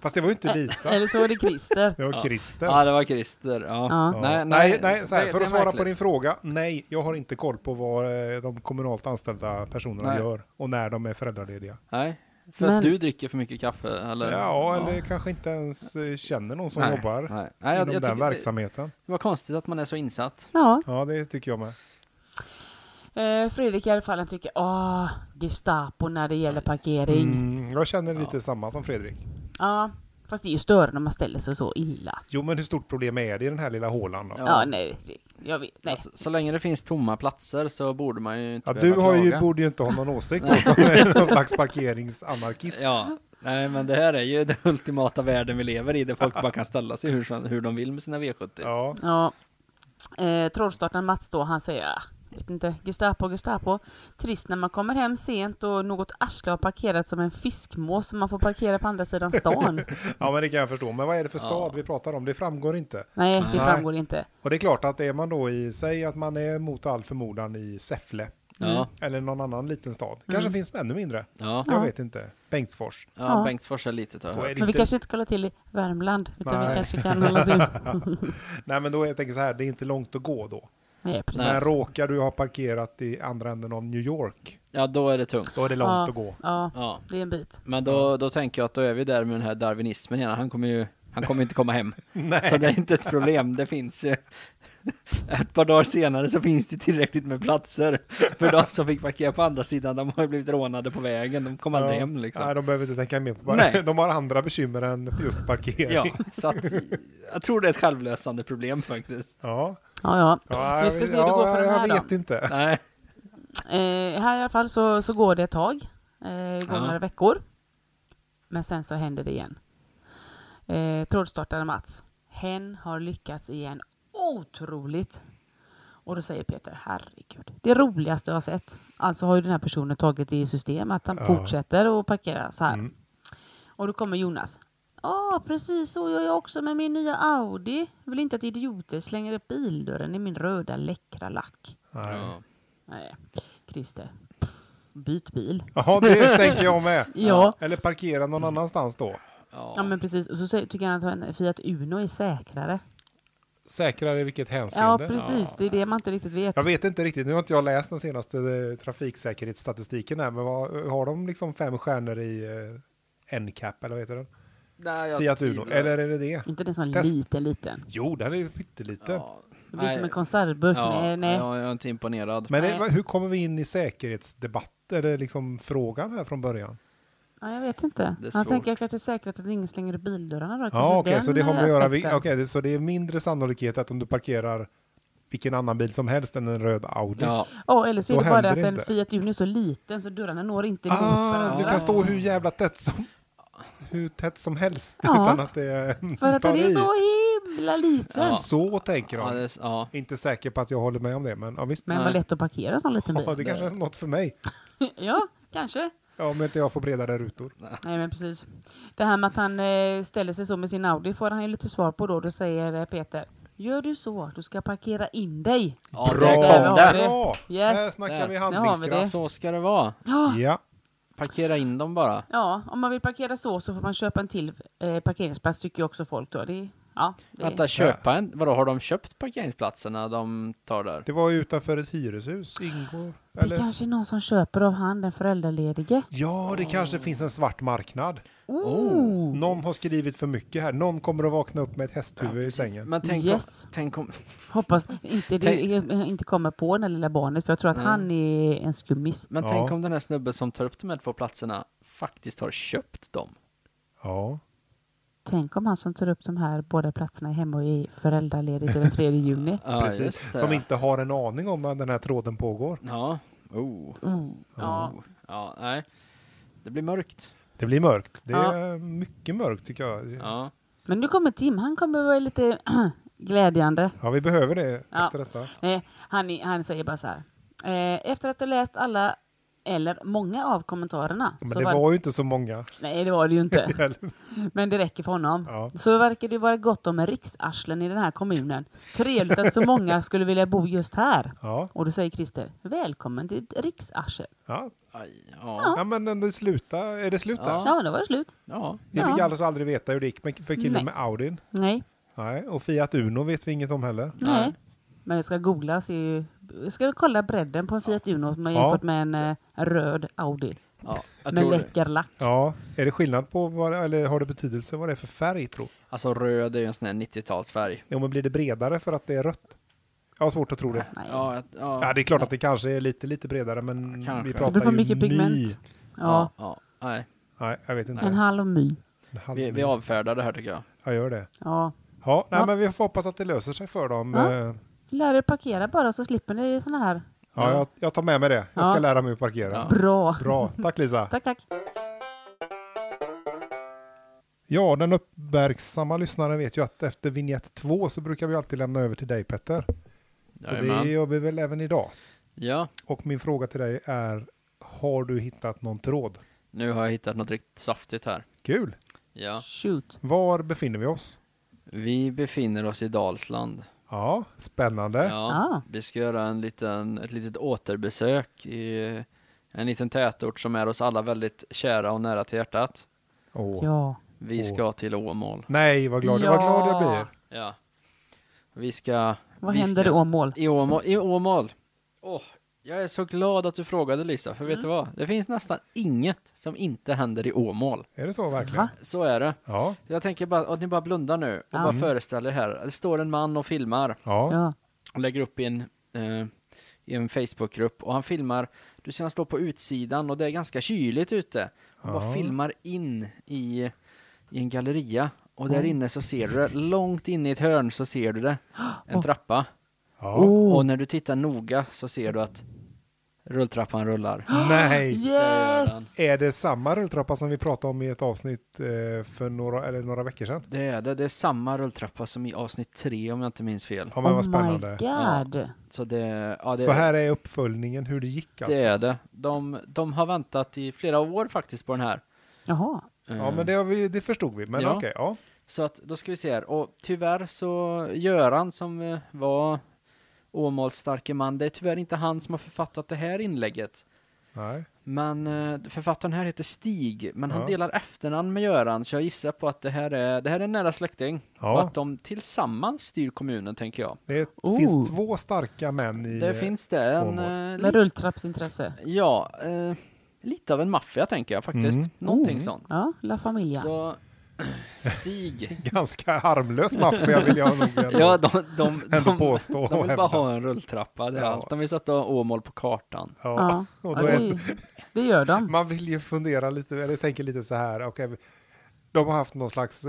[SPEAKER 1] Fast det var ju inte Lisa,
[SPEAKER 3] Eller så är det Christer.
[SPEAKER 1] det var
[SPEAKER 2] Ja.
[SPEAKER 1] Christer.
[SPEAKER 2] Ja, det var Christer. Ja.
[SPEAKER 3] Ja.
[SPEAKER 1] Nej, nej, så här, för att svara på din fråga, nej, jag har inte koll på vad eh, de kommunalt anställda personerna
[SPEAKER 2] Nej.
[SPEAKER 1] gör och när de är föräldralediga.
[SPEAKER 2] Nej, för
[SPEAKER 3] Men-
[SPEAKER 2] att du dricker för mycket kaffe eller?
[SPEAKER 1] Ja, eller kanske inte ens eh, känner någon som
[SPEAKER 2] Nej,
[SPEAKER 1] jobbar
[SPEAKER 2] nej. Nej, jag-
[SPEAKER 1] inom
[SPEAKER 2] jag
[SPEAKER 1] den
[SPEAKER 2] tycker det-
[SPEAKER 1] verksamheten.
[SPEAKER 2] Det var konstigt att man är så insatt.
[SPEAKER 3] Ja,
[SPEAKER 1] Ja, det tycker jag med.
[SPEAKER 3] eh, Fredrik i alla fall han tycker åh, Gestapo när det gäller parkering.
[SPEAKER 1] Mm, jag känner lite samma som Fredrik.
[SPEAKER 3] Ja, fast det är ju större när man ställer sig så illa.
[SPEAKER 1] Jo, men hur stort problem är det i den här lilla hålan då?
[SPEAKER 2] Ja.
[SPEAKER 3] Ja, nej, det- jag vet, nej.
[SPEAKER 2] Alltså, så länge det finns tomma platser så borde man ju inte
[SPEAKER 1] Ja,
[SPEAKER 2] behöva
[SPEAKER 1] du har ju,
[SPEAKER 2] klaga.
[SPEAKER 1] borde ju inte ha någon åsikt då, som är någon slags parkeringsanarkist.
[SPEAKER 2] Ja, nej men det här är ju den ultimata världen vi lever i där folk bara kan ställa sig hur, som- hur de vill med sina V70.
[SPEAKER 1] Ja.
[SPEAKER 3] Ja. Eh, Trollstartaren Mats då, han säger, "Ah, vet inte, Gestapo, Gestapo. Trist när man kommer hem sent och något arsle har parkerat som en fiskmås som man får parkera på andra sidan stan.
[SPEAKER 1] ja, men det kan jag förstå. Men vad är det för stad vi pratar om? Det framgår inte.
[SPEAKER 3] Nej, det
[SPEAKER 1] Nej.
[SPEAKER 3] framgår inte.
[SPEAKER 1] Och det är klart att är man då i, säg att man är mot all förmodan i Säffle
[SPEAKER 2] Ja, Mm.
[SPEAKER 1] eller någon annan liten stad. Kanske finns ännu mindre.
[SPEAKER 2] ja,
[SPEAKER 1] Jag vet inte. Bengtsfors.
[SPEAKER 2] ja, Bengtsfors är litet har jag
[SPEAKER 1] Då
[SPEAKER 2] hört.
[SPEAKER 1] är det
[SPEAKER 3] Men vi
[SPEAKER 1] inte,
[SPEAKER 3] kanske inte ska hålla till i Värmland, utan vi
[SPEAKER 1] Nej.
[SPEAKER 3] kanske kan hålla till...
[SPEAKER 1] Nej, men då är jag tänker så här, det är inte långt att gå då.
[SPEAKER 3] Nej, precis.
[SPEAKER 1] Men råkar du ha parkerat i andra änden av New York,
[SPEAKER 2] Ja, då är det tungt.
[SPEAKER 1] då är det långt
[SPEAKER 3] ja,
[SPEAKER 1] att gå.
[SPEAKER 3] Ja,
[SPEAKER 2] Ja,
[SPEAKER 3] det är en bit.
[SPEAKER 2] men då, då tänker jag att då är vi där med den här darwinismen igen. Han kommer ju han kommer inte komma hem. Så det är inte ett problem. Det finns ju. Ett par dagar senare så finns det tillräckligt med platser för de som fick parkera på andra sidan. De har ju blivit rånade på vägen. De kom aldrig
[SPEAKER 1] Ja.
[SPEAKER 2] hem liksom.
[SPEAKER 1] Nej, de behöver inte tänka mer på
[SPEAKER 2] Nej.
[SPEAKER 1] det. De har andra bekymmer än just parkering.
[SPEAKER 2] Ja, så att jag tror det är ett självlösande problem faktiskt.
[SPEAKER 1] Ja.
[SPEAKER 3] Ja, ja.
[SPEAKER 1] Ja,
[SPEAKER 3] Vi ska
[SPEAKER 1] jag-
[SPEAKER 3] se hur det går
[SPEAKER 1] ja,
[SPEAKER 3] för den här
[SPEAKER 1] Jag
[SPEAKER 3] då.
[SPEAKER 1] vet inte.
[SPEAKER 2] Nej.
[SPEAKER 3] Eh, här i alla fall så, så går det ett tag, eh, går
[SPEAKER 2] Ja.
[SPEAKER 3] några veckor. Men sen så händer det igen. Eh, Trådstartaren Mats, hen har lyckats igen otroligt. Och då säger Peter, herregud, det roligaste jag har sett. Alltså har ju den här personen tagit det i system att han
[SPEAKER 1] Ja.
[SPEAKER 3] fortsätter och parkera så här.
[SPEAKER 1] Mm.
[SPEAKER 3] Och då kommer Jonas. Ja, precis så gör jag också med min nya Audi. Vill inte att idioter slänger upp bildörren i min röda läckra lack.
[SPEAKER 1] Nej.
[SPEAKER 2] Ja.
[SPEAKER 3] Nej, Christer. Byt bil.
[SPEAKER 1] Ja, det tänker jag med.
[SPEAKER 3] Ja.
[SPEAKER 1] Eller parkera någon annanstans då.
[SPEAKER 3] Ja men precis, och så säger- tycker han att en Fiat Uno är säkrare.
[SPEAKER 1] Säkrare i vilket
[SPEAKER 3] Ja
[SPEAKER 1] hänseende.
[SPEAKER 3] precis, det är det man inte riktigt vet.
[SPEAKER 1] Jag vet inte riktigt, nu har inte jag läst den senaste eh, trafiksäkerhetsstatistiken här, men vad, har de liksom fem stjärnor i eh, NCAP eller vad heter den?
[SPEAKER 2] Nej, jag
[SPEAKER 1] Fiat Uno,
[SPEAKER 2] tvivlar.
[SPEAKER 1] eller är det det?
[SPEAKER 3] Inte den som
[SPEAKER 1] Test.
[SPEAKER 3] liten liten.
[SPEAKER 1] Jo, den är ju pytteliten.
[SPEAKER 2] Ja.
[SPEAKER 3] Det blir
[SPEAKER 2] Nej.
[SPEAKER 3] som en konservburk.
[SPEAKER 2] Ja,
[SPEAKER 3] nej, nej.
[SPEAKER 2] Jag, jag är inte imponerad.
[SPEAKER 1] Men det,
[SPEAKER 3] Nej.
[SPEAKER 1] va- hur kommer vi in i säkerhetsdebatt, eller liksom frågan här från början?
[SPEAKER 3] Ja, jag vet inte.
[SPEAKER 2] Det är
[SPEAKER 3] Han
[SPEAKER 2] svårt.
[SPEAKER 3] tänker kanske säkert att ingen slänger upp bildörrarna då.
[SPEAKER 1] Ja,
[SPEAKER 3] Kanske
[SPEAKER 1] okej, så
[SPEAKER 3] Alltså, den
[SPEAKER 1] det har med att göra, vi,
[SPEAKER 3] aspekten.
[SPEAKER 1] okej, det, så det är mindre sannolikhet att om du parkerar vilken annan bil som helst än en röd Audi.
[SPEAKER 2] Ja,
[SPEAKER 3] Ja, eller så är
[SPEAKER 1] Då
[SPEAKER 3] det bara
[SPEAKER 1] händer
[SPEAKER 3] det att
[SPEAKER 1] det
[SPEAKER 3] en
[SPEAKER 1] inte.
[SPEAKER 3] Fiat Uno är så liten så dörrarna når inte emot
[SPEAKER 1] Ah,
[SPEAKER 3] varandra.
[SPEAKER 1] du kan stå hur jävla tätt som... hur tätt som helst
[SPEAKER 3] Ja.
[SPEAKER 1] utan att det
[SPEAKER 3] För att
[SPEAKER 1] tar
[SPEAKER 3] den är
[SPEAKER 1] i.
[SPEAKER 3] så himla liten.
[SPEAKER 2] Ja.
[SPEAKER 1] Så tänker de.
[SPEAKER 2] Ja, det, ja.
[SPEAKER 1] Inte säker på att jag håller med om det, men ja, visst.
[SPEAKER 3] Men vad
[SPEAKER 2] Nej.
[SPEAKER 3] lätt att parkera en sån liten bil.
[SPEAKER 1] Ja, det kanske är något för mig.
[SPEAKER 3] ja, kanske.
[SPEAKER 1] Ja, om inte jag får bredare rutor.
[SPEAKER 3] Nej men precis. Det här med att han eh, ställer sig så med sin Audi får han ju lite svar på då. Då säger eh, Peter. Gör du så, du ska parkera in dig.
[SPEAKER 2] Ja, där
[SPEAKER 1] Bra!
[SPEAKER 2] kom
[SPEAKER 3] Där har vi
[SPEAKER 2] den.
[SPEAKER 3] det.
[SPEAKER 1] Bra!
[SPEAKER 3] Yes.
[SPEAKER 1] Här snackar
[SPEAKER 2] Där.
[SPEAKER 1] vi
[SPEAKER 3] har vi Ah.
[SPEAKER 1] handlingskraft.
[SPEAKER 2] Så ska det vara.
[SPEAKER 3] Ja,
[SPEAKER 1] Ja,
[SPEAKER 2] Parkera in dem bara.
[SPEAKER 3] ja, om man vill parkera så så får man köpa en till eh, parkeringsplats tycker ju också folk då. Det, ja, det,
[SPEAKER 2] Vänta, köpa en? Vadå, har de köpt parkeringsplatserna de tar där?
[SPEAKER 1] det var ju utanför ett hyreshus. Ingår,
[SPEAKER 3] det
[SPEAKER 1] eller?
[SPEAKER 3] kanske är någon som köper av han, den föräldraledige.
[SPEAKER 1] Ja, det kanske finns en svart marknad.
[SPEAKER 2] Oh.
[SPEAKER 1] Någon har skrivit för mycket här. Någon kommer att vakna upp med ett hästhuvud i sängen.
[SPEAKER 2] Men tänk
[SPEAKER 3] Yes.
[SPEAKER 2] om... Tänk om
[SPEAKER 3] Hoppas inte det eh, inte kommer på det lilla barnet för jag tror att
[SPEAKER 2] Nej.
[SPEAKER 3] han är en skummis.
[SPEAKER 2] men
[SPEAKER 1] Ja.
[SPEAKER 2] tänk om den här snubben som tar upp de här två platserna faktiskt har köpt dem.
[SPEAKER 1] Ja.
[SPEAKER 3] Tänk om han som tar upp de här båda platserna är hemma och är föräldraledig till den 3 juni.
[SPEAKER 2] Ja,
[SPEAKER 1] Precis.
[SPEAKER 2] just det.
[SPEAKER 1] Som inte har en aning om att den här tråden pågår.
[SPEAKER 2] Ja. Oh.
[SPEAKER 3] Ja.
[SPEAKER 2] Oh. Ja, nej. Det blir mörkt.
[SPEAKER 1] Det blir mörkt. Det
[SPEAKER 3] Ja.
[SPEAKER 1] är mycket mörkt tycker jag. Ja,
[SPEAKER 2] Ja.
[SPEAKER 3] Men nu kommer Tim, han kommer vara lite glädjande.
[SPEAKER 1] vi behöver det
[SPEAKER 3] Ja.
[SPEAKER 1] efter detta.
[SPEAKER 3] Nej, han, är- han säger bara så här. Eh, efter att ha läst alla, eller många av kommentarerna.
[SPEAKER 1] Men
[SPEAKER 3] så
[SPEAKER 1] det
[SPEAKER 3] var-
[SPEAKER 1] var ju inte så många.
[SPEAKER 3] Nej, det var det ju inte. Men det räcker för honom.
[SPEAKER 1] Ja.
[SPEAKER 3] Så verkar det vara gott om riksarslen i den här kommunen. Trevligt att så många skulle vilja bo just här.
[SPEAKER 1] Ja,
[SPEAKER 3] Och då säger Christer, välkommen till ett riksarsel.
[SPEAKER 1] ja.
[SPEAKER 2] Aj, ja.
[SPEAKER 1] ja men ändå sluta. Är det slut där?
[SPEAKER 2] Ja.
[SPEAKER 3] Ja, men då var det slut.
[SPEAKER 2] Ja.
[SPEAKER 1] Vi
[SPEAKER 3] Ja.
[SPEAKER 1] fick alltså aldrig veta hur det gick med- för killen
[SPEAKER 3] Nej.
[SPEAKER 1] med Audin.
[SPEAKER 3] Nej,
[SPEAKER 1] Nej, och Fiat Uno vet vi inget om heller.
[SPEAKER 3] nej.
[SPEAKER 2] Nej.
[SPEAKER 3] Men jag ska googla och se. Jag ska kolla bredden på en Fiat Uno som jag
[SPEAKER 1] Ja.
[SPEAKER 3] jämfört med en eh, röd Audi.
[SPEAKER 2] ja. Jag
[SPEAKER 3] med
[SPEAKER 2] tror,
[SPEAKER 3] läcker lack.
[SPEAKER 1] Ja, är det skillnad på vad, eller har det betydelse vad det är för färg tro?
[SPEAKER 2] alltså röd är ju en sån här 90-talsfärg.
[SPEAKER 1] Jo, men blir det bredare för att det är rött? Jag har svårt att tro det.
[SPEAKER 3] Nej.
[SPEAKER 2] Ja, jag- ja.
[SPEAKER 1] Ja, det är klart att det kanske är lite, lite bredare, men
[SPEAKER 2] Kanske.
[SPEAKER 1] vi
[SPEAKER 2] Det
[SPEAKER 1] pratar
[SPEAKER 3] beror på
[SPEAKER 1] ju
[SPEAKER 3] mycket
[SPEAKER 1] my.
[SPEAKER 3] pigment. Ja,
[SPEAKER 2] Ja, ja. Nej.
[SPEAKER 1] Nej, jag vet inte.
[SPEAKER 3] en halv my.
[SPEAKER 1] En halv
[SPEAKER 2] Vi, vi
[SPEAKER 1] my.
[SPEAKER 2] avfärdar det här tycker jag.
[SPEAKER 1] Jag gör det.
[SPEAKER 3] Ja.
[SPEAKER 1] Ja, nej,
[SPEAKER 3] Ja.
[SPEAKER 1] men vi får hoppas att det löser sig för dem.
[SPEAKER 3] Ja.
[SPEAKER 1] Eh,
[SPEAKER 3] Lär er parkera bara så slipper ni såna här.
[SPEAKER 1] Ja, jag, jag tar med mig det. Jag ska
[SPEAKER 3] Ja.
[SPEAKER 1] lära mig att parkera.
[SPEAKER 2] Ja.
[SPEAKER 3] Bra.
[SPEAKER 1] Bra, tack Lisa.
[SPEAKER 3] Tack, tack.
[SPEAKER 1] Ja, den uppmärksamma lyssnaren vet ju att efter vignett 2 så brukar vi alltid lämna över till dig Petter. Och det
[SPEAKER 2] Jajamän.
[SPEAKER 1] gör vi väl även idag.
[SPEAKER 2] Ja,
[SPEAKER 1] Och min fråga till dig är, har du hittat någon tråd?
[SPEAKER 2] nu har jag hittat något riktigt saftigt här.
[SPEAKER 1] Kul!
[SPEAKER 2] Ja.
[SPEAKER 3] Shoot.
[SPEAKER 1] Var befinner vi oss?
[SPEAKER 2] Vi befinner oss i Dalsland.
[SPEAKER 1] Ja, spännande.
[SPEAKER 2] Ja.
[SPEAKER 3] Ah.
[SPEAKER 2] Vi ska göra en liten, ett litet återbesök i en liten tätort som är oss alla väldigt kära och nära till hjärtat.
[SPEAKER 1] Åh.
[SPEAKER 3] Ja.
[SPEAKER 2] Vi
[SPEAKER 1] Åh.
[SPEAKER 2] ska till Åmål.
[SPEAKER 1] Nej, vad glad,
[SPEAKER 3] Ja.
[SPEAKER 1] vad glad jag blir.
[SPEAKER 2] Ja. Vi ska...
[SPEAKER 3] Vad
[SPEAKER 2] vi
[SPEAKER 3] händer i
[SPEAKER 2] ska-
[SPEAKER 3] Åmål?
[SPEAKER 2] I Åmål. I Åmål. Åh, jag är så glad att du frågade Lisa, för
[SPEAKER 3] Mm.
[SPEAKER 2] vet du vad? Det finns nästan inget som inte händer i Åmål.
[SPEAKER 1] Är det så verkligen?
[SPEAKER 3] Va?
[SPEAKER 2] Så är det.
[SPEAKER 1] Ja,
[SPEAKER 2] Jag tänker bara att ni bara blundar nu och
[SPEAKER 3] Ja.
[SPEAKER 2] bara
[SPEAKER 3] Mm.
[SPEAKER 2] föreställer er här. Det står en man och filmar
[SPEAKER 1] ja,
[SPEAKER 3] Ja.
[SPEAKER 2] och lägger upp i en, eh, i en Facebookgrupp och han filmar, du ser han stå på utsidan och det är ganska kyligt ute. Han
[SPEAKER 1] Ja.
[SPEAKER 2] bara filmar in i, i en galleria och där inne så ser du det, långt inne i ett hörn så ser du det, en trappa.
[SPEAKER 1] ja.
[SPEAKER 3] Oh.
[SPEAKER 2] Och när du tittar noga så ser du att rulltrappan rullar.
[SPEAKER 1] Nej!
[SPEAKER 3] Yes!
[SPEAKER 1] Är det samma rulltrappa som vi pratade om i ett avsnitt eh, för några, eller några veckor sedan?
[SPEAKER 2] Det är det, det är samma rulltrappa som i avsnitt tre om jag inte minns fel.
[SPEAKER 1] Ja, men vad
[SPEAKER 3] oh my
[SPEAKER 1] spännande.
[SPEAKER 3] god.
[SPEAKER 2] Så det, ja, det
[SPEAKER 1] Så här är uppföljningen hur det gick alltså.
[SPEAKER 2] Det är det. De, de har väntat i flera år faktiskt på den här.
[SPEAKER 3] Jaha.
[SPEAKER 1] Ja,
[SPEAKER 2] Eh,
[SPEAKER 1] men det, har vi, det förstod vi. Men
[SPEAKER 2] Ja.
[SPEAKER 1] okej, ja.
[SPEAKER 2] Så att då ska vi se här. Och tyvärr så Göran som eh, var Åmåls starke man, det är tyvärr inte han som har författat det här inlägget.
[SPEAKER 1] Nej.
[SPEAKER 2] Men eh, författaren här heter Stig, men
[SPEAKER 1] Ja.
[SPEAKER 2] han delar efternamn med Göran, så jag gissar på att det här är, det här är en nära släkting.
[SPEAKER 1] Ja.
[SPEAKER 2] Och att de tillsammans styr kommunen, tänker jag.
[SPEAKER 1] Det
[SPEAKER 3] Oh.
[SPEAKER 1] finns två starka män i...
[SPEAKER 2] Det
[SPEAKER 1] eh,
[SPEAKER 2] finns det en...
[SPEAKER 1] Åmål.
[SPEAKER 2] eh,
[SPEAKER 3] Med
[SPEAKER 2] li-
[SPEAKER 3] rulltrappsintresse.
[SPEAKER 2] ja, eh, lite av en maffia tänker jag faktiskt.
[SPEAKER 1] Mm.
[SPEAKER 2] Någonting
[SPEAKER 1] Mm.
[SPEAKER 2] sånt.
[SPEAKER 3] Ja, La Familia.
[SPEAKER 2] Så Stig,
[SPEAKER 1] Ganska harmlös maffia vill jag nog ändå,
[SPEAKER 2] ja de, de, de,
[SPEAKER 1] ändå
[SPEAKER 2] de,
[SPEAKER 1] påstå. och
[SPEAKER 2] vill
[SPEAKER 1] hävda.
[SPEAKER 2] bara ha en rulltrappa, det är
[SPEAKER 1] Ja.
[SPEAKER 2] allt. De vill sätta Åmål på kartan.
[SPEAKER 1] ja.
[SPEAKER 3] Ja.
[SPEAKER 1] Och
[SPEAKER 3] Ja,
[SPEAKER 1] då är,
[SPEAKER 3] det, det gör de.
[SPEAKER 1] man vill ju fundera lite, eller tänker lite så här. okej, de har haft någon slags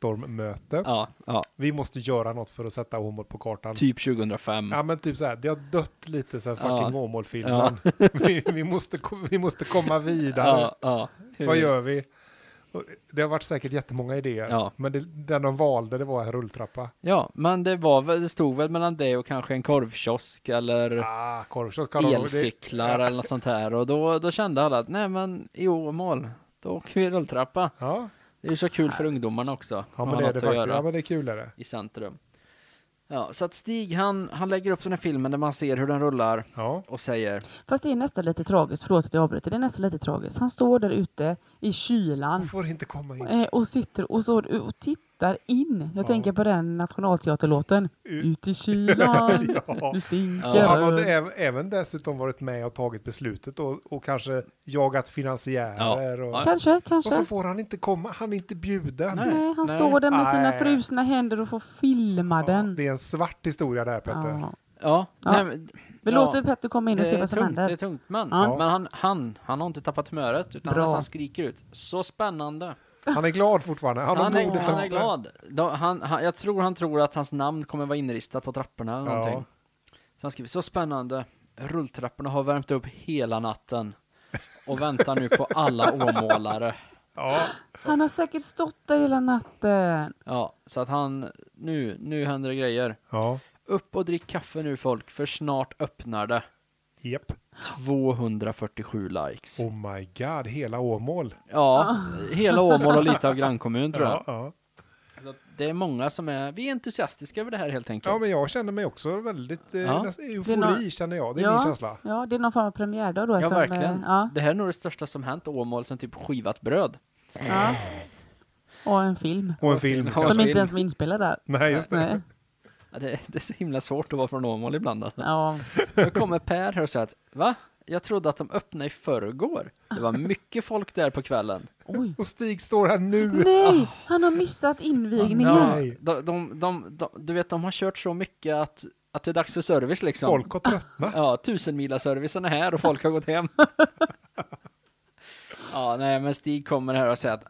[SPEAKER 1] brainstorm-möte.
[SPEAKER 2] Ja, ja,
[SPEAKER 1] Vi måste göra något för att sätta Åmål på kartan.
[SPEAKER 2] typ 2005.
[SPEAKER 1] Ja men typ så här, det har dött lite sen
[SPEAKER 2] Ja.
[SPEAKER 1] fucking Åmål-filmen. Vi, vi, måste, ko- vi måste komma vidare.
[SPEAKER 2] ja. Hur,
[SPEAKER 1] Vad gör vi? Och Det har varit säkert jättemånga idéer,
[SPEAKER 2] Ja.
[SPEAKER 1] men det, den de valde det var en rulltrappa.
[SPEAKER 2] Ja, men det var väl, det stod väl mellan det och kanske en korvkiosk eller
[SPEAKER 1] Ah, korvkiosk kan de- det-
[SPEAKER 2] elcyklar eller något sånt här. Och då, då kände alla att nej men i Åmål, då åker vi rulltrappa.
[SPEAKER 1] Ja,
[SPEAKER 2] Det är ju så kul för ungdomarna också.
[SPEAKER 1] ja men
[SPEAKER 2] att ha
[SPEAKER 1] det är
[SPEAKER 2] något
[SPEAKER 1] det
[SPEAKER 2] att
[SPEAKER 1] faktiskt.
[SPEAKER 2] göra.
[SPEAKER 1] Ja, men det är kul är det.
[SPEAKER 2] i centrum. Ja, så att Stig han, han lägger upp den här filmen där man ser hur den rullar
[SPEAKER 1] Ja,
[SPEAKER 2] och säger
[SPEAKER 3] Fast det är nästan lite tragiskt, förlåt att jag avbryter, det är nästan lite tragiskt. Han står där ute i kylan
[SPEAKER 1] man får inte komma in.
[SPEAKER 3] eh, och sitter och, så, och tittar in. Jag
[SPEAKER 1] Ja.
[SPEAKER 3] tänker på den nationalteaterlåten.
[SPEAKER 1] Ut-
[SPEAKER 3] Ut i kylan,
[SPEAKER 1] Ja.
[SPEAKER 3] du stinker.
[SPEAKER 1] Och han hade äv- även dessutom varit med och tagit beslutet och, och kanske jagat finansiärer.
[SPEAKER 2] Ja.
[SPEAKER 1] Och,
[SPEAKER 2] Ja.
[SPEAKER 3] Kanske,
[SPEAKER 1] och så
[SPEAKER 3] kanske.
[SPEAKER 1] får han inte komma, han är inte bjuden.
[SPEAKER 2] Nej.
[SPEAKER 3] Nej, han
[SPEAKER 2] Nej.
[SPEAKER 3] står där med sina
[SPEAKER 1] Nej.
[SPEAKER 3] frusna händer och får filma
[SPEAKER 1] Ja,
[SPEAKER 3] den.
[SPEAKER 1] det är en svart historia där Petter.
[SPEAKER 3] Ja.
[SPEAKER 2] Ja,
[SPEAKER 3] Ja.
[SPEAKER 2] nej, men- ja,
[SPEAKER 3] Vi låter Petter komma in och se
[SPEAKER 2] det är
[SPEAKER 3] vad som
[SPEAKER 2] Eh, tungt, det är
[SPEAKER 3] händer.
[SPEAKER 2] tungt men,
[SPEAKER 3] Ja.
[SPEAKER 2] men han, han, han har inte tappat humöret utan han
[SPEAKER 3] Bra.
[SPEAKER 2] nästan skriker ut Så spännande!
[SPEAKER 1] Han är glad fortfarande. Han,
[SPEAKER 2] Han
[SPEAKER 1] har
[SPEAKER 2] är,
[SPEAKER 1] modet
[SPEAKER 2] han är
[SPEAKER 1] att-
[SPEAKER 2] glad! Då, han, han, jag tror han tror att hans namn kommer vara inristat på trapporna eller
[SPEAKER 1] Ja.
[SPEAKER 2] någonting. Så han skriver Så spännande! Rulltrapporna har värmt upp hela natten och väntar nu på alla åmålare.
[SPEAKER 1] Ja,
[SPEAKER 3] Han har säkert stått där hela natten.
[SPEAKER 2] Ja, så att han, nu, nu händer det grejer.
[SPEAKER 1] ja.
[SPEAKER 2] Upp och drick kaffe nu folk, för snart öppnar det.
[SPEAKER 1] Japp.
[SPEAKER 2] 247 likes.
[SPEAKER 1] Oh my god, hela Åmål.
[SPEAKER 2] Ja, hela Åmål och lite av grannkommunen tror
[SPEAKER 1] Ja,
[SPEAKER 2] jag.
[SPEAKER 1] ja.
[SPEAKER 2] Så att Alltså, det är många som är, vi är entusiastiska över det här helt enkelt.
[SPEAKER 1] ja, men jag känner mig också väldigt eh,
[SPEAKER 2] Ja.
[SPEAKER 1] nästan
[SPEAKER 3] Det är
[SPEAKER 1] eufori
[SPEAKER 3] nå-
[SPEAKER 1] känner jag. Det är
[SPEAKER 3] Ja.
[SPEAKER 1] min känsla.
[SPEAKER 3] Ja, det är någon form av premiärdag då.
[SPEAKER 2] Ja,
[SPEAKER 3] som, eh,
[SPEAKER 2] verkligen.
[SPEAKER 3] Ja,
[SPEAKER 2] Det här är nog det största som hänt Åmål sen typ skivat bröd.
[SPEAKER 3] ja. Och en film.
[SPEAKER 1] Och en film.
[SPEAKER 2] Ja.
[SPEAKER 1] kanske.
[SPEAKER 3] Som inte
[SPEAKER 2] film.
[SPEAKER 3] ens var inspelad där.
[SPEAKER 1] Nej, just det.
[SPEAKER 3] Nej.
[SPEAKER 2] Ja, det, det är så himla svårt att vara från Åmål ibland alltså.
[SPEAKER 3] Ja.
[SPEAKER 2] Då kommer Per här och säger att, va? Jag trodde att de öppnade i förrgår. Det var mycket folk där på kvällen.
[SPEAKER 3] Oj.
[SPEAKER 1] Och Stig står här nu.
[SPEAKER 3] Nej, han har missat invigningen.
[SPEAKER 2] Ja,
[SPEAKER 1] Nej.
[SPEAKER 2] de, de, de, de, du vet, de har kört så mycket att, att det är dags för service liksom.
[SPEAKER 1] Folk har tröttnat.
[SPEAKER 2] Ja, tusenmilaservicen är här och folk har gått hem. ja, nej, men Stig kommer här och säger att,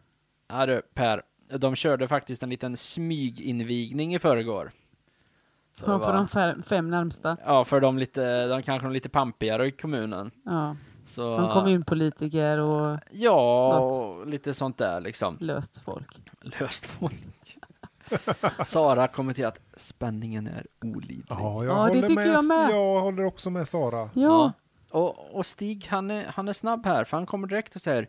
[SPEAKER 2] ja du Per, de körde faktiskt en liten smyginvigning i förrgår. Så det
[SPEAKER 3] Från
[SPEAKER 2] var-
[SPEAKER 3] för de fem, fem närmsta.
[SPEAKER 2] Ja, för de lite, de kanske de lite pampigare i kommunen.
[SPEAKER 3] Ja.
[SPEAKER 2] Så,
[SPEAKER 3] Som kommunpolitiker och
[SPEAKER 2] Ja,
[SPEAKER 3] Något.
[SPEAKER 2] och lite sånt där liksom.
[SPEAKER 3] löst folk.
[SPEAKER 2] Löst folk. Sara kommer till att spänningen är olidlig.
[SPEAKER 1] Ja, jag
[SPEAKER 3] Ja, det
[SPEAKER 1] håller
[SPEAKER 3] tycker
[SPEAKER 1] med.
[SPEAKER 3] jag med.
[SPEAKER 1] Jag håller också med Sara.
[SPEAKER 3] Ja,
[SPEAKER 2] Och, och Stig, han är, han är snabb här, för han kommer direkt och säger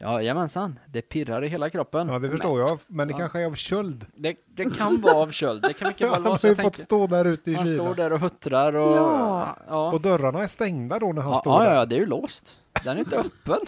[SPEAKER 2] Jajamensan, det pirrar i hela kroppen.
[SPEAKER 1] Ja, det förstår jag. Men det kanske är av köld.
[SPEAKER 2] Det, det kan vara av köld, det kan mycket
[SPEAKER 1] Han
[SPEAKER 2] väl
[SPEAKER 1] har
[SPEAKER 2] vara så
[SPEAKER 1] ju
[SPEAKER 2] jag
[SPEAKER 1] fått
[SPEAKER 2] tänker.
[SPEAKER 1] stå där ute i
[SPEAKER 2] Han står
[SPEAKER 1] kylan.
[SPEAKER 2] där och huttrar och...
[SPEAKER 3] Ja.
[SPEAKER 2] ja.
[SPEAKER 1] Och dörrarna är stängda då när han
[SPEAKER 2] ja,
[SPEAKER 1] står
[SPEAKER 2] ja,
[SPEAKER 1] där.
[SPEAKER 2] ja, det är ju låst. Den är inte öppen.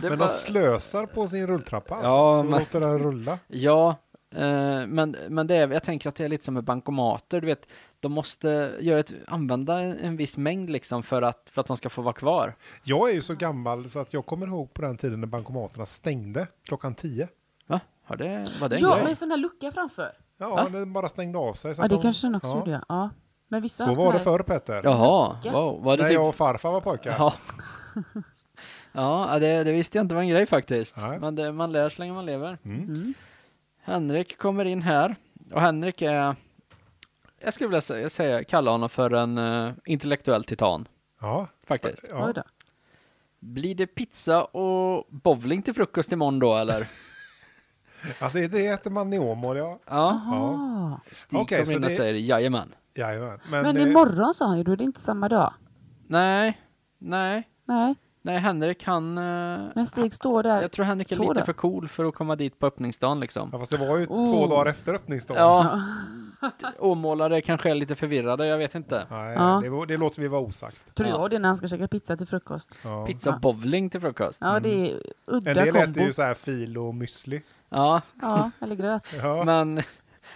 [SPEAKER 2] Det är
[SPEAKER 1] Men
[SPEAKER 2] bara-
[SPEAKER 1] de slösar på sin rulltrappa alltså.
[SPEAKER 2] Ja,
[SPEAKER 1] De
[SPEAKER 2] men-
[SPEAKER 1] låter den rulla.
[SPEAKER 2] Ja, eh, men, men det är, jag tänker att det är lite som med bankomater, du vet, de måste göra ett, använda en, en viss mängd liksom för att, för att de ska få vara kvar.
[SPEAKER 1] Jag är ju så gammal så att jag kommer ihåg på den tiden när bankomaterna stängde klockan 10.
[SPEAKER 2] Va? Har det, var det
[SPEAKER 3] ja.
[SPEAKER 2] en
[SPEAKER 3] ja
[SPEAKER 2] grej?
[SPEAKER 3] med sån där lucka framför.
[SPEAKER 1] Ja,
[SPEAKER 2] Va?
[SPEAKER 1] den bara stängde av sig. Så
[SPEAKER 3] Ja,
[SPEAKER 1] att
[SPEAKER 3] det
[SPEAKER 1] de-
[SPEAKER 3] kanske den också
[SPEAKER 1] ja.
[SPEAKER 3] gjorde. Ja. ja. Men vissa
[SPEAKER 1] Så
[SPEAKER 3] har haft
[SPEAKER 1] var det
[SPEAKER 3] sån här-
[SPEAKER 1] förr Petter.
[SPEAKER 2] Jaha,
[SPEAKER 3] Ja.
[SPEAKER 2] wow. Var det
[SPEAKER 1] när
[SPEAKER 2] typ...
[SPEAKER 1] jag och farfar var pojkar.
[SPEAKER 2] Ja, ja det, det visste jag inte var en grej faktiskt.
[SPEAKER 1] Nej.
[SPEAKER 2] Men det, man lär så länge man lever.
[SPEAKER 1] Mm.
[SPEAKER 3] Mm.
[SPEAKER 2] Henrik kommer in här och Henrik är, jag skulle vilja sä- säga, kalla honom för en eh, intellektuell titan
[SPEAKER 1] Ja.
[SPEAKER 2] faktiskt.
[SPEAKER 1] Ja.
[SPEAKER 3] Oj då.
[SPEAKER 2] Blir det pizza och bowling till frukost imorgon då eller?
[SPEAKER 1] ja, det, det äter man i Åmål, ja.
[SPEAKER 2] Ja,
[SPEAKER 3] Jaha.
[SPEAKER 2] Stig
[SPEAKER 1] Okej,
[SPEAKER 2] kommer
[SPEAKER 1] så
[SPEAKER 2] in och
[SPEAKER 1] det-
[SPEAKER 2] säger jajamän.
[SPEAKER 1] Jajamän.
[SPEAKER 3] Ah. Men
[SPEAKER 1] eh,
[SPEAKER 3] imorgon sa han ju, då är det inte samma dag.
[SPEAKER 2] Nej, nej,
[SPEAKER 3] Nej,
[SPEAKER 2] nej Henrik han, eh,
[SPEAKER 3] men Stig står där.
[SPEAKER 2] jag tror Henrik är
[SPEAKER 3] Tror
[SPEAKER 2] lite
[SPEAKER 3] det.
[SPEAKER 2] för cool för att komma dit på öppningsdagen liksom.
[SPEAKER 1] Ja, fast det var ju
[SPEAKER 3] Oh.
[SPEAKER 1] två dagar efter öppningsdagen.
[SPEAKER 2] Ja, åmålare kanske är lite förvirrade, jag vet inte.
[SPEAKER 1] Nej,
[SPEAKER 3] Ja.
[SPEAKER 1] Det, var- det låter vi vara osagt.
[SPEAKER 3] Tror
[SPEAKER 2] Ja.
[SPEAKER 3] jag det är när han ska käka pizza till frukost.
[SPEAKER 1] Ja.
[SPEAKER 2] Pizza och bowling till frukost.
[SPEAKER 3] Ja, det är udda
[SPEAKER 1] Mm. En del
[SPEAKER 3] kombo.
[SPEAKER 1] äter ju så här fil och müsli.
[SPEAKER 2] Ja,
[SPEAKER 3] Ja, eller gröt.
[SPEAKER 1] Ja.
[SPEAKER 2] men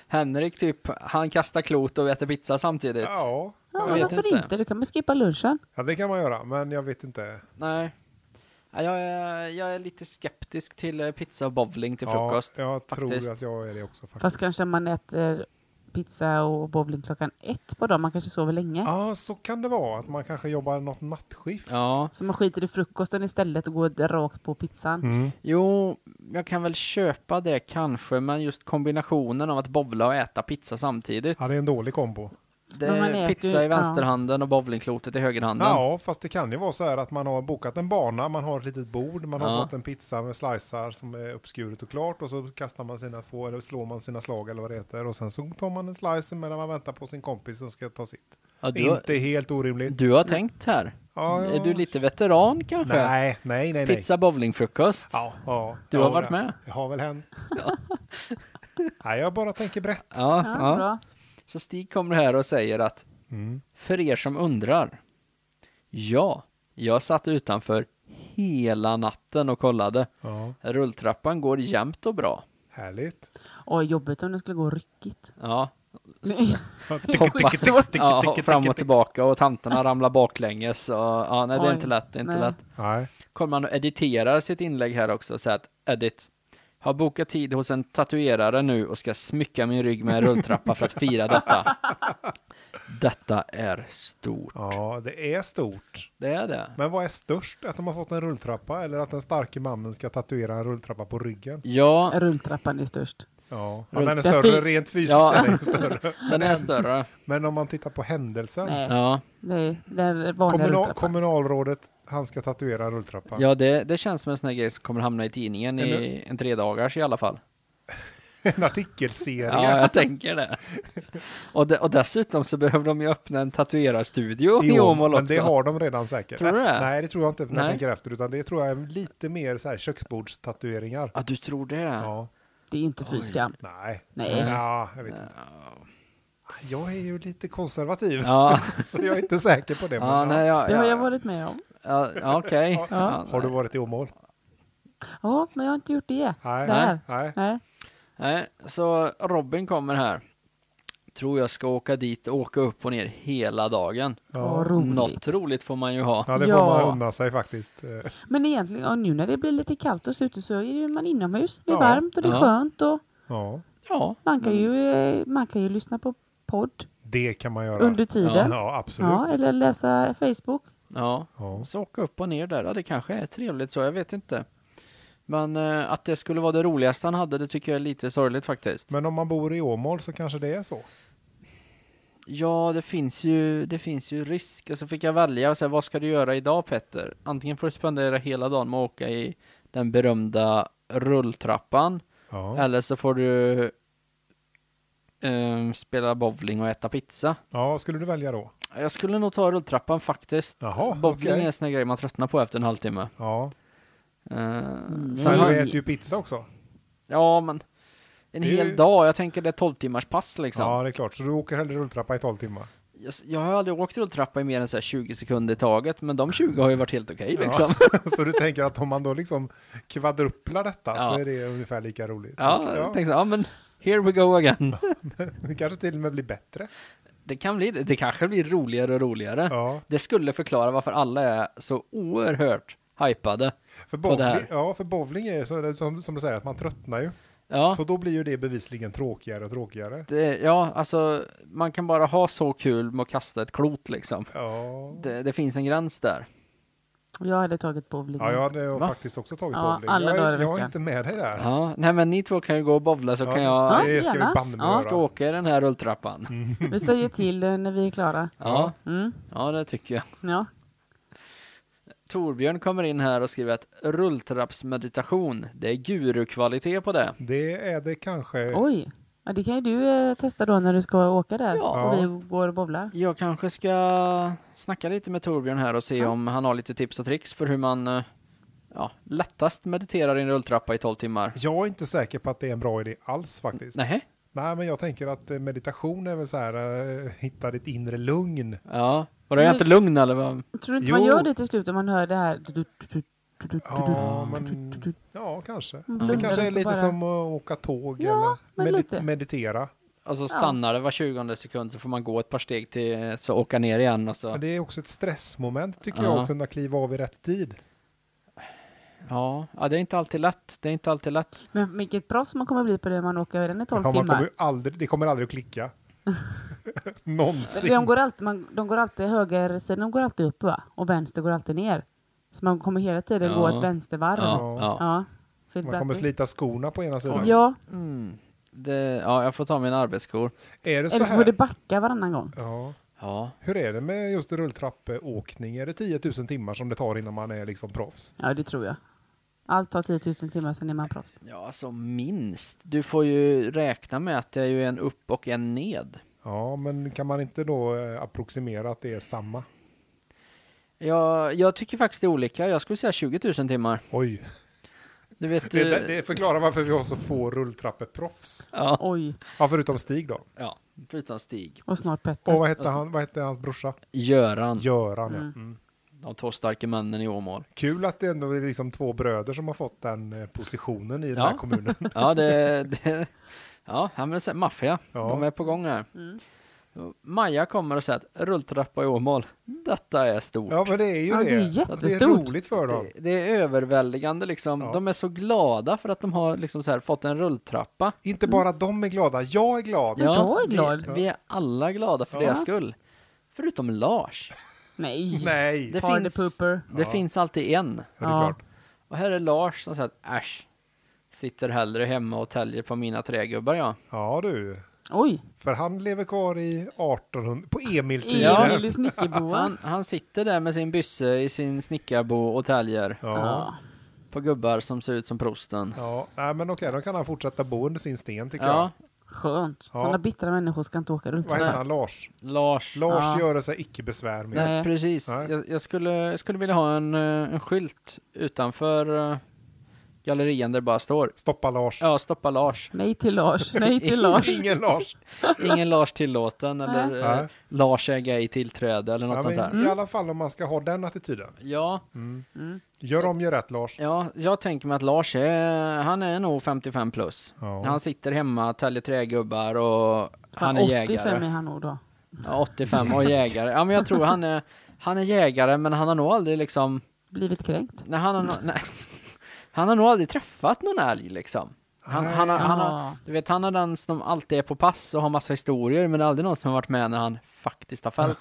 [SPEAKER 2] Henrik typ, han kastar klot och äter pizza samtidigt.
[SPEAKER 1] Ja.
[SPEAKER 3] Ja,
[SPEAKER 2] Jag
[SPEAKER 3] men
[SPEAKER 2] vet
[SPEAKER 3] varför
[SPEAKER 2] inte.
[SPEAKER 3] inte. Du kan väl skippa lunchen.
[SPEAKER 1] ja, det kan man göra, men jag vet inte.
[SPEAKER 2] Nej. Ja, Jag är, jag är lite skeptisk till eh, pizza och bowling till frukost.
[SPEAKER 1] Ja, jag
[SPEAKER 2] faktiskt.
[SPEAKER 1] tror att jag är det också faktiskt.
[SPEAKER 3] Fast kanske man äter pizza och bowling klockan ett på dagen. Man kanske sover länge.
[SPEAKER 1] Ja, så kan det vara. Att man kanske jobbar något nattskift.
[SPEAKER 2] Ja,
[SPEAKER 3] Så man skiter i frukosten istället och går rakt på pizzan.
[SPEAKER 1] Mm.
[SPEAKER 2] jo, jag kan väl köpa det kanske, men just kombinationen av att bowla och äta pizza samtidigt.
[SPEAKER 1] Ja, det är en dålig kombo.
[SPEAKER 2] Det
[SPEAKER 3] Men man
[SPEAKER 2] är
[SPEAKER 3] äter
[SPEAKER 2] pizza
[SPEAKER 3] ju-
[SPEAKER 2] i vänsterhanden och bowlingklotet i högerhanden.
[SPEAKER 1] Ja, fast det kan ju vara så här att man har bokat en bana, man har ett litet bord, man har
[SPEAKER 2] Ja.
[SPEAKER 1] fått en pizza med slicer som är uppskuret och klart och så kastar man sina två eller slår man sina slag eller vad det heter och sen så tar man en slice medan man väntar på sin kompis som ska ta sitt.
[SPEAKER 2] Ja, du, har-
[SPEAKER 1] Inte helt orimligt.
[SPEAKER 2] du har tänkt här.
[SPEAKER 1] Ja,
[SPEAKER 2] Är
[SPEAKER 1] ja.
[SPEAKER 2] du lite veteran kanske?
[SPEAKER 1] Nej, nej, nej. nej.
[SPEAKER 2] Pizza, bowlingfrukost.
[SPEAKER 1] Ja, ja,
[SPEAKER 2] Du
[SPEAKER 1] ja,
[SPEAKER 2] har varit
[SPEAKER 1] det-
[SPEAKER 2] med?
[SPEAKER 1] Det har väl hänt. Nej, jag bara tänker brett.
[SPEAKER 2] Ja,
[SPEAKER 3] Ja,
[SPEAKER 2] ja.
[SPEAKER 3] bra.
[SPEAKER 2] Så Stig kommer här och säger att
[SPEAKER 1] Mm.
[SPEAKER 2] För er som undrar. Ja, jag satt utanför hela natten och kollade.
[SPEAKER 1] Ja,
[SPEAKER 2] Rulltrappan går jämnt och bra.
[SPEAKER 1] härligt.
[SPEAKER 3] Åh, jobbigt om det skulle gå ryckigt.
[SPEAKER 2] Ja,
[SPEAKER 3] Nej.
[SPEAKER 2] hoppas.
[SPEAKER 3] Skitsvårt.
[SPEAKER 2] Ja, och fram och tillbaka och tanterna ramlar baklänges. Och, ja, nej, det är
[SPEAKER 3] Oj,
[SPEAKER 2] inte lätt. Det är inte
[SPEAKER 3] nej.
[SPEAKER 2] lätt.
[SPEAKER 1] Nej,
[SPEAKER 2] Kommer man och editerar sitt inlägg här också och säger att edit. Har bokat tid hos en tatuerare nu och ska smycka min rygg med en rulltrappa för att fira detta. Detta är stort.
[SPEAKER 1] ja, det är stort.
[SPEAKER 2] Det är det.
[SPEAKER 1] Men vad är störst? Att de har fått en rulltrappa eller att den starke mannen ska tatuera en rulltrappa på ryggen?
[SPEAKER 2] Ja,
[SPEAKER 3] Rulltrappan är störst.
[SPEAKER 1] Ja, att den är
[SPEAKER 3] Rulltrappa-
[SPEAKER 1] större rent fysiskt.
[SPEAKER 2] Ja.
[SPEAKER 1] Är den ju större.
[SPEAKER 2] den är större.
[SPEAKER 1] Men om man tittar på händelsen.
[SPEAKER 3] Nej,
[SPEAKER 2] Ja,
[SPEAKER 3] nej, det är vanliga
[SPEAKER 1] Kommunal,
[SPEAKER 3] rulltrappan.
[SPEAKER 1] kommunalrådet, han ska tatuera en rulltrappa.
[SPEAKER 2] ja det, det känns som en sån här grej som kommer hamna i tidningen i
[SPEAKER 1] Eller-
[SPEAKER 2] en tredagars i alla fall.
[SPEAKER 1] En artikelserie.
[SPEAKER 2] Ja, jag tänker det. Och, de, och dessutom så behöver de ju öppna en tatuerarstudio i Åmål också.
[SPEAKER 1] men det har de redan säkert.
[SPEAKER 2] Tror du det?
[SPEAKER 1] Nej, det tror jag inte när jag
[SPEAKER 2] Nej.
[SPEAKER 1] tänker efter, utan det tror jag är lite mer så här köksbordstatueringar.
[SPEAKER 2] Ja, du tror det?
[SPEAKER 1] Ja,
[SPEAKER 3] Det är inte fy skam.
[SPEAKER 1] nej.
[SPEAKER 3] Nej.
[SPEAKER 1] Ja, jag vet inte. Jag är ju lite konservativ,
[SPEAKER 2] Ja,
[SPEAKER 1] så jag är inte säker på det. men
[SPEAKER 2] ja,
[SPEAKER 1] ja.
[SPEAKER 2] nej, ja,
[SPEAKER 3] Det har
[SPEAKER 2] ja,
[SPEAKER 3] jag varit med om.
[SPEAKER 2] Ja, ja, okej. Ja,
[SPEAKER 1] Har du varit i Åmål?
[SPEAKER 3] Ja, men jag har inte gjort det.
[SPEAKER 1] Nej.
[SPEAKER 3] Där.
[SPEAKER 1] Nej.
[SPEAKER 3] Nej.
[SPEAKER 2] Nej, så Robin kommer här. Tror jag ska åka dit och åka upp och ner hela dagen.
[SPEAKER 3] Vad
[SPEAKER 1] Ja.
[SPEAKER 3] roligt.
[SPEAKER 2] Något roligt får man ju ha.
[SPEAKER 1] ja, det får
[SPEAKER 3] Ja.
[SPEAKER 1] man unna sig faktiskt. Eh,
[SPEAKER 3] Men egentligen, ja, nu när det blir lite kallt och så ute så är ju man inomhus. Det är
[SPEAKER 1] Ja.
[SPEAKER 3] varmt och det är
[SPEAKER 2] Ja.
[SPEAKER 3] skönt och
[SPEAKER 1] Ja,
[SPEAKER 2] Ja,
[SPEAKER 3] man kan, ju, eh, man kan ju lyssna på podd
[SPEAKER 1] det kan man göra.
[SPEAKER 3] under tiden. Ja,
[SPEAKER 1] Ja, absolut. Ja.
[SPEAKER 3] eller läsa Facebook.
[SPEAKER 2] ja.
[SPEAKER 1] Ja.
[SPEAKER 2] Så åka upp och ner där, ja, det kanske är trevligt så, jag vet inte. Men eh, att det skulle vara det roligaste han hade, det tycker jag är lite sorgligt faktiskt.
[SPEAKER 1] Men om man bor i Åmål så kanske det är så.
[SPEAKER 2] Ja, det finns ju, det finns ju risk. Alltså fick jag välja, så här, vad ska du göra idag Petter? Antingen får du spendera hela dagen med att åka i den berömda rulltrappan,
[SPEAKER 1] Ja,
[SPEAKER 2] eller så får du ehm, spela bowling och äta pizza.
[SPEAKER 1] ja skulle du välja då?
[SPEAKER 2] Jag skulle nog ta rulltrappan faktiskt.
[SPEAKER 1] Jaha,
[SPEAKER 2] bowling
[SPEAKER 1] okej.
[SPEAKER 2] är en sån här grej man tröttnar på efter en halvtimme.
[SPEAKER 1] Ja,
[SPEAKER 2] Eh, sen
[SPEAKER 1] men
[SPEAKER 2] har-
[SPEAKER 1] du
[SPEAKER 3] Nej.
[SPEAKER 1] äter ju pizza också.
[SPEAKER 2] Ja, men en
[SPEAKER 1] Det är
[SPEAKER 2] hel
[SPEAKER 1] ju-
[SPEAKER 2] dag. Jag tänker det är 12 timmars pass liksom.
[SPEAKER 1] Ja, det är klart. Så du åker hellre rulltrappa i 12 timmar.
[SPEAKER 2] Jag, jag har aldrig åkt rulltrappa i mer än så här 20 sekunder i taget, men de 20 har ju varit helt okej
[SPEAKER 1] Ja.
[SPEAKER 2] liksom.
[SPEAKER 1] så du tänker att om man då liksom kvadruplar detta så
[SPEAKER 2] Ja.
[SPEAKER 1] är det ungefär lika roligt.
[SPEAKER 2] Ja, jag tänker så, ja men here we go again.
[SPEAKER 1] Det kanske till och med blir bättre.
[SPEAKER 2] Det kan bli det. Det kanske blir roligare och roligare.
[SPEAKER 1] Ja,
[SPEAKER 2] Det skulle förklara varför alla är så oerhört hypade.
[SPEAKER 1] för
[SPEAKER 2] På det
[SPEAKER 1] bowling,
[SPEAKER 2] här.
[SPEAKER 1] ja, för bowling är ju så, det är som, som du säger att man tröttnar ju.
[SPEAKER 2] Ja,
[SPEAKER 1] Så då blir ju det bevisligen tråkigare och tråkigare.
[SPEAKER 2] det, eh, ja, alltså man kan bara ha så kul med att kasta ett klot liksom.
[SPEAKER 1] Ja,
[SPEAKER 2] Det, det finns en gräns där.
[SPEAKER 3] Jag hade tagit bowling.
[SPEAKER 1] ja jag hade ju
[SPEAKER 2] Va?
[SPEAKER 1] faktiskt också tagit
[SPEAKER 3] Mm. Ja,
[SPEAKER 1] bowling.
[SPEAKER 3] alla
[SPEAKER 1] Jag,
[SPEAKER 3] dagar i
[SPEAKER 1] är- jag är
[SPEAKER 3] veckan.
[SPEAKER 1] inte med dig där.
[SPEAKER 2] Ja, nej men ni två kan ju gå och bowla så kan jag,
[SPEAKER 1] det ska vi
[SPEAKER 3] gärna.
[SPEAKER 1] banne mig
[SPEAKER 2] ja, ska
[SPEAKER 1] göra. Mm.
[SPEAKER 2] åka i den här rulltrappan.
[SPEAKER 3] Vi säger till eh, när vi är klara.
[SPEAKER 2] Ja,
[SPEAKER 3] Mm.
[SPEAKER 2] ja det tycker jag.
[SPEAKER 3] Ja.
[SPEAKER 2] Torbjörn kommer in här och skriver att rulltrappsmeditation, det är gurukvalitet på det.
[SPEAKER 1] Det är det kanske.
[SPEAKER 3] Oj. Ja, det kan ju du eh, testa då när du ska åka där
[SPEAKER 2] Ja.
[SPEAKER 3] och vi går och bowlar.
[SPEAKER 2] Jag kanske ska snacka lite med Torbjörn här och se om han har lite tips och tricks för hur man eh, ja, lättast mediterar i en rulltrappa i 12 timmar.
[SPEAKER 1] Jag är inte säker på att det är en bra idé alls faktiskt. Nej,
[SPEAKER 2] Nej,
[SPEAKER 1] men jag tänker att eh, meditation är väl så här, eh, hitta ditt inre lugn.
[SPEAKER 2] ja. Var jag inte lugn eller? vad?
[SPEAKER 3] Tror du inte
[SPEAKER 1] Jo.
[SPEAKER 3] man gör det till slut om man hör det här?
[SPEAKER 1] Ja, men ja, kanske.
[SPEAKER 3] Blundar
[SPEAKER 1] Det kanske är
[SPEAKER 3] och Mm, så
[SPEAKER 1] lite
[SPEAKER 3] bara-
[SPEAKER 1] som att åka tåg
[SPEAKER 3] Ja,
[SPEAKER 1] eller
[SPEAKER 3] men
[SPEAKER 1] medi-
[SPEAKER 3] lite.
[SPEAKER 1] meditera.
[SPEAKER 2] Alltså stannar det var 20 sekund så får man gå ett par steg till, så åka ner igen och så.
[SPEAKER 1] Men det är också ett stressmoment tycker
[SPEAKER 2] Ja.
[SPEAKER 1] jag att kunna kliva av i rätt tid.
[SPEAKER 2] Ja, ja, det är inte alltid lätt. Det är inte alltid lätt.
[SPEAKER 3] Men vilket proffs man kommer bli på det om man åker den i 12
[SPEAKER 1] Ja, man kommer
[SPEAKER 3] timmar.
[SPEAKER 1] ju aldrig, det kommer aldrig att klicka. Någonsin.
[SPEAKER 3] De går, alltid, man, de går alltid höger, sen de går alltid upp va? Och vänster går alltid ner. Så man kommer hela tiden gå
[SPEAKER 2] Ja.
[SPEAKER 3] ett vänstervarv.
[SPEAKER 2] Ja, ja.
[SPEAKER 3] Ja. Så det blir
[SPEAKER 1] Man kommer
[SPEAKER 3] alltid-
[SPEAKER 1] slita skorna på ena sidan.
[SPEAKER 3] Ja,
[SPEAKER 2] Mm. det, ja, jag får ta mina arbetskor.
[SPEAKER 1] Är det så
[SPEAKER 3] Eller så får du
[SPEAKER 1] här?
[SPEAKER 3] backa varannan gång.
[SPEAKER 1] Ja.
[SPEAKER 2] Ja,
[SPEAKER 1] Hur är det med just rulltrappeåkning? Är det 10 000 timmar som det tar innan man är liksom proffs?
[SPEAKER 3] Ja, det tror jag. Allt tar 10 000 timmar, sen är man proffs.
[SPEAKER 2] ja alltså minst. Du får ju räkna med att det är ju en upp och en ned.
[SPEAKER 1] Ja, men kan man inte då eh, approximera att det är samma?
[SPEAKER 2] Jag, jag tycker faktiskt det är olika. Jag skulle säga 20 000 timmar.
[SPEAKER 1] Oj,
[SPEAKER 2] Du vet...
[SPEAKER 1] det,
[SPEAKER 2] eh,
[SPEAKER 1] det, det förklarar varför vi har så få rulltrappeproffs.
[SPEAKER 2] Ja,
[SPEAKER 3] Oj,
[SPEAKER 1] Ja, förutom Stig då.
[SPEAKER 2] ja, förutom Stig.
[SPEAKER 3] och snart Petter.
[SPEAKER 1] Och vad hette, han, vad hette hans brorsa?
[SPEAKER 2] Göran,
[SPEAKER 1] Göran, ja.
[SPEAKER 3] Mm.
[SPEAKER 1] Mm.
[SPEAKER 2] de två starka männen i Åmål.
[SPEAKER 1] Kul att det ändå är liksom två bröder som har fått den eh, positionen i den
[SPEAKER 2] Ja.
[SPEAKER 1] här kommunen.
[SPEAKER 2] Ja, det... det ja, han vill säga maffia.
[SPEAKER 1] Ja.
[SPEAKER 2] De är på gång här.
[SPEAKER 3] Mm.
[SPEAKER 2] Maja kommer och säger att rulltrappa i Åmål, detta är stort.
[SPEAKER 1] Ja, men det är ju
[SPEAKER 3] Ja,
[SPEAKER 1] det.
[SPEAKER 3] det är
[SPEAKER 1] det är
[SPEAKER 3] jättestort.
[SPEAKER 1] roligt för dem.
[SPEAKER 2] Det, det är överväldigande liksom.
[SPEAKER 1] Ja.
[SPEAKER 2] De är så glada för att de har liksom så här, fått en rulltrappa.
[SPEAKER 1] Inte bara de är glada, jag är glad.
[SPEAKER 3] Ja. jag är glad.
[SPEAKER 2] Vi, vi är alla glada för
[SPEAKER 1] Ja.
[SPEAKER 2] deras skull. Förutom Lars.
[SPEAKER 3] Nej,
[SPEAKER 1] Nej,
[SPEAKER 2] Det
[SPEAKER 3] Party
[SPEAKER 2] finns-
[SPEAKER 3] pooper.
[SPEAKER 2] Det
[SPEAKER 1] Ja.
[SPEAKER 2] finns alltid en.
[SPEAKER 1] ja, det är
[SPEAKER 3] Ja.
[SPEAKER 1] klart.
[SPEAKER 2] Och här är Lars som säger att äsch, sitter hellre hemma och täljer på mina trägubbar ja.
[SPEAKER 1] Ja du,
[SPEAKER 3] Oj,
[SPEAKER 1] för han lever kvar i 1800, på Emil-tiden.
[SPEAKER 2] Ja.
[SPEAKER 3] Emil i snickerboa.
[SPEAKER 2] Han, han sitter där med sin bysse i sin snickarbo och täljer
[SPEAKER 1] Ja,
[SPEAKER 2] på gubbar som ser ut som prosten.
[SPEAKER 1] ja. Nej, men okej, då kan han fortsätta bo under sin sten tycker
[SPEAKER 2] Ja,
[SPEAKER 3] Skönt.
[SPEAKER 1] Ja.
[SPEAKER 3] Sådana bittra människor ska inte åka runt
[SPEAKER 1] jag. Vad hette han, Lars?
[SPEAKER 2] Lars.
[SPEAKER 1] Lars
[SPEAKER 3] Ja.
[SPEAKER 1] göre sig icke besvär med.
[SPEAKER 2] Nej,
[SPEAKER 3] Nej.
[SPEAKER 2] precis.
[SPEAKER 1] Nej.
[SPEAKER 2] Jag, jag, skulle, jag skulle vilja ha en, eh, en skylt utanför eh, gallerian där det bara står
[SPEAKER 1] Stoppa Lars.
[SPEAKER 2] Ja, stoppa Lars.
[SPEAKER 3] Nej till Lars, nej till Lars.
[SPEAKER 1] Ingen Lars.
[SPEAKER 2] Ingen Lars tillåten eller
[SPEAKER 3] Nej.
[SPEAKER 2] eh,
[SPEAKER 1] Nej.
[SPEAKER 2] Lars äger ej tillträde eller något
[SPEAKER 1] Ja,
[SPEAKER 2] sånt där.
[SPEAKER 1] men I alla fall om man ska ha den attityden.
[SPEAKER 2] Ja,
[SPEAKER 3] Mm.
[SPEAKER 1] Gör om, gör rätt Lars.
[SPEAKER 2] ja, jag tänker mig att Lars är, han är nog 55 plus.
[SPEAKER 1] Ja.
[SPEAKER 2] Han sitter hemma, täljer trägubbar och han är
[SPEAKER 3] 85
[SPEAKER 2] jägare.
[SPEAKER 3] är han nog då.
[SPEAKER 2] Ja, 85 och jägare. Ja, men jag tror han är, han är jägare, men han har nog aldrig liksom,
[SPEAKER 3] Blivit kränkt.
[SPEAKER 2] nej, han, har, nog- nej, han har nog aldrig träffat någon älg liksom. Han,
[SPEAKER 1] Nej.
[SPEAKER 2] han, har, han, har,
[SPEAKER 3] Ja.
[SPEAKER 2] Du vet, han är den som alltid är på pass och har massa historier, men det är aldrig någon som har varit med när han faktiskt har fällt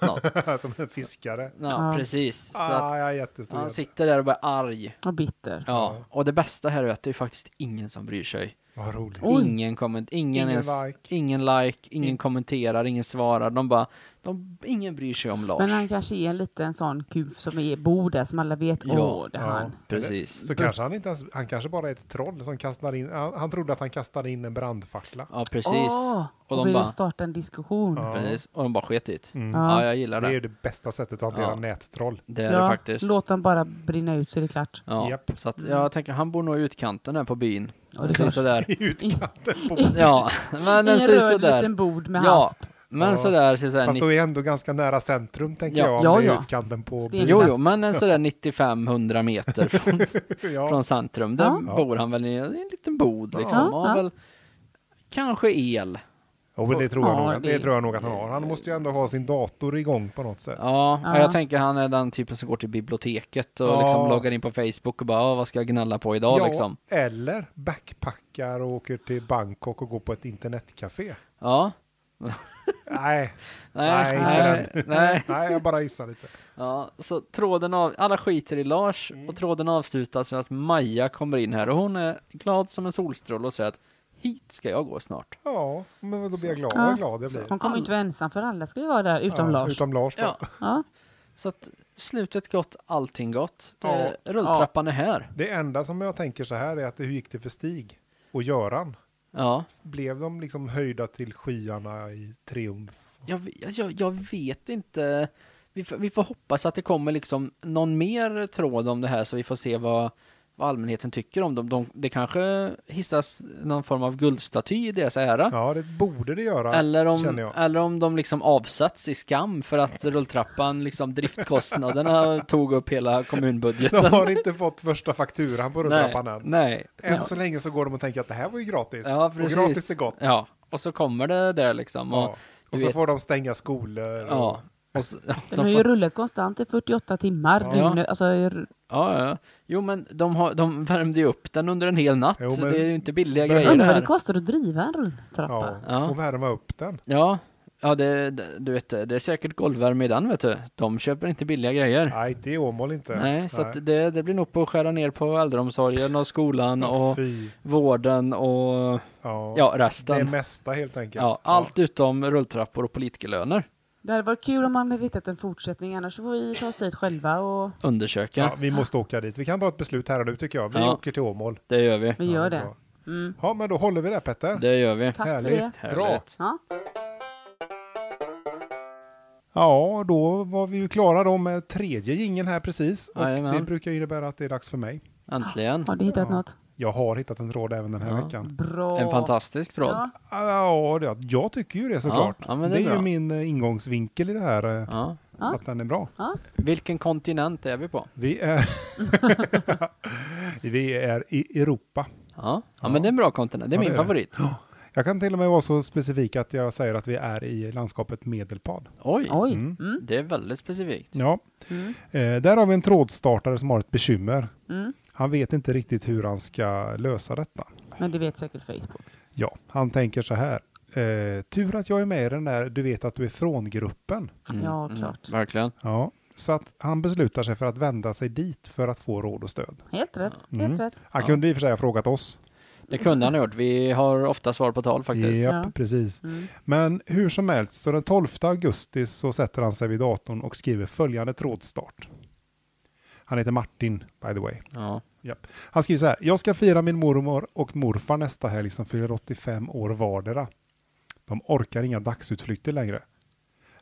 [SPEAKER 2] något.
[SPEAKER 1] Som en fiskare.
[SPEAKER 2] Ja,
[SPEAKER 3] Ja.
[SPEAKER 2] precis. Så att
[SPEAKER 1] Ah, jag är jättestor.
[SPEAKER 2] han
[SPEAKER 1] jävel.
[SPEAKER 2] sitter där och blir arg.
[SPEAKER 3] Och bitter.
[SPEAKER 2] Ja, och det bästa här är att det är faktiskt ingen som bryr sig.
[SPEAKER 1] Vad roligt.
[SPEAKER 3] Oj.
[SPEAKER 2] Ingen komment, ingen,
[SPEAKER 1] Ingen
[SPEAKER 2] ens,
[SPEAKER 1] like.
[SPEAKER 2] ingen like, ingen
[SPEAKER 1] In-
[SPEAKER 2] kommenterar, ingen svarar. De bara, de, ingen bryr sig om Lars.
[SPEAKER 3] Men han kanske är en liten sån kuf som är, bor där som alla vet. Åh,
[SPEAKER 2] Ja.
[SPEAKER 3] det är
[SPEAKER 1] Ja.
[SPEAKER 3] han.
[SPEAKER 2] Precis.
[SPEAKER 1] Så kanske han inte ens, han kanske bara är ett troll som kastar in, han, han trodde att han kastade in en brandfackla.
[SPEAKER 2] Ja, precis.
[SPEAKER 3] Åh,
[SPEAKER 2] Och
[SPEAKER 3] och
[SPEAKER 2] de
[SPEAKER 3] vill
[SPEAKER 2] bara-
[SPEAKER 3] starta en diskussion.
[SPEAKER 1] Ja.
[SPEAKER 2] precis. Och de bara sket i det.
[SPEAKER 1] Mm.
[SPEAKER 2] Ja, jag gillar
[SPEAKER 1] Det är
[SPEAKER 2] det.
[SPEAKER 1] ju det bästa sättet att hantera
[SPEAKER 2] Ja.
[SPEAKER 1] nättroll.
[SPEAKER 2] Det är det
[SPEAKER 3] Ja,
[SPEAKER 2] faktiskt.
[SPEAKER 3] Låt dem bara brinna ut så är det klart.
[SPEAKER 2] Ja,
[SPEAKER 1] Japp.
[SPEAKER 2] så att jag tänker, han bor nog i utkanten där på byn.
[SPEAKER 3] Mm. Ja, det är
[SPEAKER 2] det ser
[SPEAKER 3] klart.
[SPEAKER 2] sådär.
[SPEAKER 1] I utkanten på
[SPEAKER 2] Ja, men den
[SPEAKER 3] en
[SPEAKER 2] ser
[SPEAKER 3] röd
[SPEAKER 2] sådär.
[SPEAKER 3] liten bord med
[SPEAKER 2] Ja,
[SPEAKER 3] hasp.
[SPEAKER 2] men
[SPEAKER 1] Ja.
[SPEAKER 2] sådär, ser sådär
[SPEAKER 1] Fast
[SPEAKER 2] 90,
[SPEAKER 1] då är jag ändå ganska nära centrum tänker
[SPEAKER 2] Ja.
[SPEAKER 1] jag. Om
[SPEAKER 3] Ja,
[SPEAKER 1] det är
[SPEAKER 3] ja.
[SPEAKER 1] utkanten på
[SPEAKER 3] Sten-
[SPEAKER 2] jo, jo,
[SPEAKER 3] fast.
[SPEAKER 2] men en sådär 95-100 meter från,
[SPEAKER 1] ja.
[SPEAKER 2] från centrum. Där
[SPEAKER 3] Ja.
[SPEAKER 1] Ja.
[SPEAKER 2] bor han väl i en liten bod liksom.
[SPEAKER 3] Ja,
[SPEAKER 2] och har
[SPEAKER 3] ja.
[SPEAKER 2] väl kanske el.
[SPEAKER 1] Jo, men det tror, jag
[SPEAKER 3] Ja,
[SPEAKER 1] nog, att- det
[SPEAKER 3] det-
[SPEAKER 1] tror jag nog att han har. Han måste ju ändå ha sin dator igång på något sätt.
[SPEAKER 2] Ja,
[SPEAKER 3] Ja.
[SPEAKER 2] jag tänker han är den typen som går till biblioteket och
[SPEAKER 1] Ja.
[SPEAKER 2] liksom loggar in på Facebook och bara, "Ah, vad ska jag gnälla på idag liksom.
[SPEAKER 1] eller backpackar och åker till Bangkok och går på ett internetcafé.
[SPEAKER 2] Ja.
[SPEAKER 1] Nej,
[SPEAKER 2] Nej,
[SPEAKER 1] Nej,
[SPEAKER 2] nej,
[SPEAKER 1] inte
[SPEAKER 2] nej.
[SPEAKER 1] nej, jag bara gissar lite.
[SPEAKER 2] Ja, så tråden av, alla skiter i Lars och tråden avslutas med att Maja kommer in här och hon är glad som en solstråle och säger att hit ska jag gå snart.
[SPEAKER 1] Ja, men då blir jag glad.
[SPEAKER 3] Ja.
[SPEAKER 1] Vad glad jag blir.
[SPEAKER 3] Hon kommer ju inte vara ensam för alla ska ju vara där utom
[SPEAKER 1] Ja,
[SPEAKER 3] Lars.
[SPEAKER 1] Utom Lars då.
[SPEAKER 2] Ja,
[SPEAKER 3] Ja.
[SPEAKER 2] så att slutet gott, allting gott.
[SPEAKER 1] Ja.
[SPEAKER 2] Det, Rulltrappan är här.
[SPEAKER 1] Det enda som jag tänker så här är att det- hur gick det för Stig och Göran?
[SPEAKER 2] Ja,
[SPEAKER 1] Blev de liksom höjda till skyarna i triumf?
[SPEAKER 2] jag, ve- jag, jag vet inte. Vi får, vi får hoppas att det kommer liksom någon mer tråd om det här så vi får se vad, vad allmänheten tycker om dem. De, det kanske hissas någon form av guldstaty i deras ära.
[SPEAKER 1] Ja, det borde det göra,
[SPEAKER 2] Eller
[SPEAKER 1] känner
[SPEAKER 2] om,
[SPEAKER 1] jag.
[SPEAKER 2] eller om de liksom avsatts i skam för att rulltrappan, liksom driftkostnaderna tog upp hela kommunbudgeten.
[SPEAKER 1] De har inte fått första fakturan på rulltrappan
[SPEAKER 2] nej,
[SPEAKER 1] än.
[SPEAKER 2] nej.
[SPEAKER 1] Än så länge så går de och tänker att det här var ju gratis.
[SPEAKER 2] Ja,
[SPEAKER 1] och
[SPEAKER 2] precis.
[SPEAKER 1] gratis är gott.
[SPEAKER 2] Ja, och så kommer det där liksom. Och,
[SPEAKER 1] Ja. Och
[SPEAKER 2] du
[SPEAKER 1] så
[SPEAKER 2] vet-
[SPEAKER 1] får de stänga skolor. och-
[SPEAKER 2] ja. Och så, ja,
[SPEAKER 3] Den har
[SPEAKER 2] de
[SPEAKER 3] ju
[SPEAKER 2] får,
[SPEAKER 3] rullat konstant i 48 timmar.
[SPEAKER 1] Ja.
[SPEAKER 3] dygnet, Alltså, r-
[SPEAKER 2] ja, ja. Jo, men de, har, de värmde ju upp den under en hel natt.
[SPEAKER 1] Jo, men-
[SPEAKER 2] det är ju inte billiga
[SPEAKER 1] Men-
[SPEAKER 2] grejer det
[SPEAKER 3] undrar vad det
[SPEAKER 2] här.
[SPEAKER 3] kostar att driva en rulltrappa.
[SPEAKER 1] Ja.
[SPEAKER 2] Ja.
[SPEAKER 1] Och värma upp den.
[SPEAKER 2] Ja, Ja, det, det- du vet, det är säkert golvvärme i den vet du. De köper inte billiga grejer.
[SPEAKER 1] Nej, inte i Åmål inte.
[SPEAKER 2] Nej, så att det, det blir nog på att skära ner på äldreomsorgen och skolan
[SPEAKER 1] Åh,
[SPEAKER 2] och
[SPEAKER 1] Fy.
[SPEAKER 2] vården och
[SPEAKER 1] Ja.
[SPEAKER 2] ja,
[SPEAKER 1] det
[SPEAKER 2] resten.
[SPEAKER 1] mesta helt enkelt.
[SPEAKER 2] Ja, allt utom rulltrappor och politikerlöner
[SPEAKER 3] Det hade varit kul om man hade hittat en fortsättning, annars får vi ta oss dit själva och
[SPEAKER 2] undersöka.
[SPEAKER 1] Ja. Ja, vi måste åka dit. Vi kan ta ett beslut här och nu tycker jag. Vi
[SPEAKER 2] Ja.
[SPEAKER 1] åker till Åmål.
[SPEAKER 2] Det gör vi.
[SPEAKER 3] vi
[SPEAKER 1] Ja,
[SPEAKER 3] gör
[SPEAKER 1] det är
[SPEAKER 3] det.
[SPEAKER 1] bra.
[SPEAKER 3] Mm.
[SPEAKER 1] Ja, men då håller vi det Petter.
[SPEAKER 2] Det gör vi.
[SPEAKER 3] Tack
[SPEAKER 1] Härligt.
[SPEAKER 3] för det.
[SPEAKER 1] Bra.
[SPEAKER 2] Härligt.
[SPEAKER 3] Ja.
[SPEAKER 1] Ja, då var vi ju klara då med tredje jingeln här precis. Och
[SPEAKER 2] Jajamän.
[SPEAKER 1] det brukar ju innebära att det är dags för mig.
[SPEAKER 2] Äntligen.
[SPEAKER 3] Har du hittat
[SPEAKER 1] Ja.
[SPEAKER 3] något?
[SPEAKER 1] Jag har hittat en tråd även den här
[SPEAKER 2] Ja.
[SPEAKER 1] veckan.
[SPEAKER 3] Bra.
[SPEAKER 2] En fantastisk tråd.
[SPEAKER 3] Ja.
[SPEAKER 1] Ja, det, jag tycker ju det såklart.
[SPEAKER 2] Ja, ja, men det är
[SPEAKER 1] det är ju
[SPEAKER 2] bra.
[SPEAKER 1] min eh, ingångsvinkel i det här, eh,
[SPEAKER 2] Ja.
[SPEAKER 3] Ja.
[SPEAKER 1] att den är bra.
[SPEAKER 2] Vilken kontinent är vi på?
[SPEAKER 1] Vi är, vi är i Europa.
[SPEAKER 2] Ja, ja,
[SPEAKER 1] Ja.
[SPEAKER 2] men det är en bra kontinent. Det är
[SPEAKER 1] Ja,
[SPEAKER 2] min
[SPEAKER 1] det är det.
[SPEAKER 2] favorit.
[SPEAKER 1] Jag kan till och med vara så specifik att jag säger att vi är i landskapet Medelpad.
[SPEAKER 2] Oj,
[SPEAKER 3] Oj.
[SPEAKER 1] Mm.
[SPEAKER 3] Mm. Mm.
[SPEAKER 2] det är väldigt specifikt.
[SPEAKER 1] Ja,
[SPEAKER 3] Mm.
[SPEAKER 1] eh, där har vi en trådstartare som har ett bekymmer.
[SPEAKER 2] Mm.
[SPEAKER 1] Han vet inte riktigt hur han ska lösa detta.
[SPEAKER 3] Men det vet säkert Facebook.
[SPEAKER 1] Ja, han tänker så här. Eh, tur att jag är med i den där du vet att du är från-gruppen.
[SPEAKER 3] Ja, klart.
[SPEAKER 2] Mm. verkligen.
[SPEAKER 1] Ja, så att han beslutar sig för att vända sig dit för att få råd och stöd.
[SPEAKER 3] Helt rätt.
[SPEAKER 1] Mm.
[SPEAKER 3] Helt rätt.
[SPEAKER 1] Han
[SPEAKER 2] Ja.
[SPEAKER 1] kunde i och för sig ha frågat oss.
[SPEAKER 2] Det kunde han ha gjort. Vi har ofta svar på tal faktiskt.
[SPEAKER 1] Japp,
[SPEAKER 3] Ja.
[SPEAKER 1] precis.
[SPEAKER 3] Mm.
[SPEAKER 1] Men hur som helst, så den 12 augusti så sätter han sig vid datorn och skriver följande trådstart. Han heter Martin, by the way.
[SPEAKER 2] Ja.
[SPEAKER 1] Japp. Han skriver så här. Jag ska fira min mormor och morfar nästa helg som fyller 85 år vardera. De orkar inga dagsutflykter längre.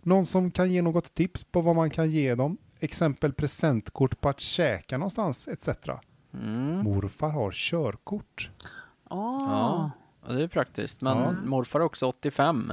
[SPEAKER 1] Någon som kan ge något tips på vad man kan ge dem? Exempel presentkort på att käka någonstans etc.
[SPEAKER 2] Mm.
[SPEAKER 1] Morfar har körkort.
[SPEAKER 3] Åh.
[SPEAKER 2] Ja. Ja, det är praktiskt. Men
[SPEAKER 1] Ja.
[SPEAKER 2] morfar är också 85.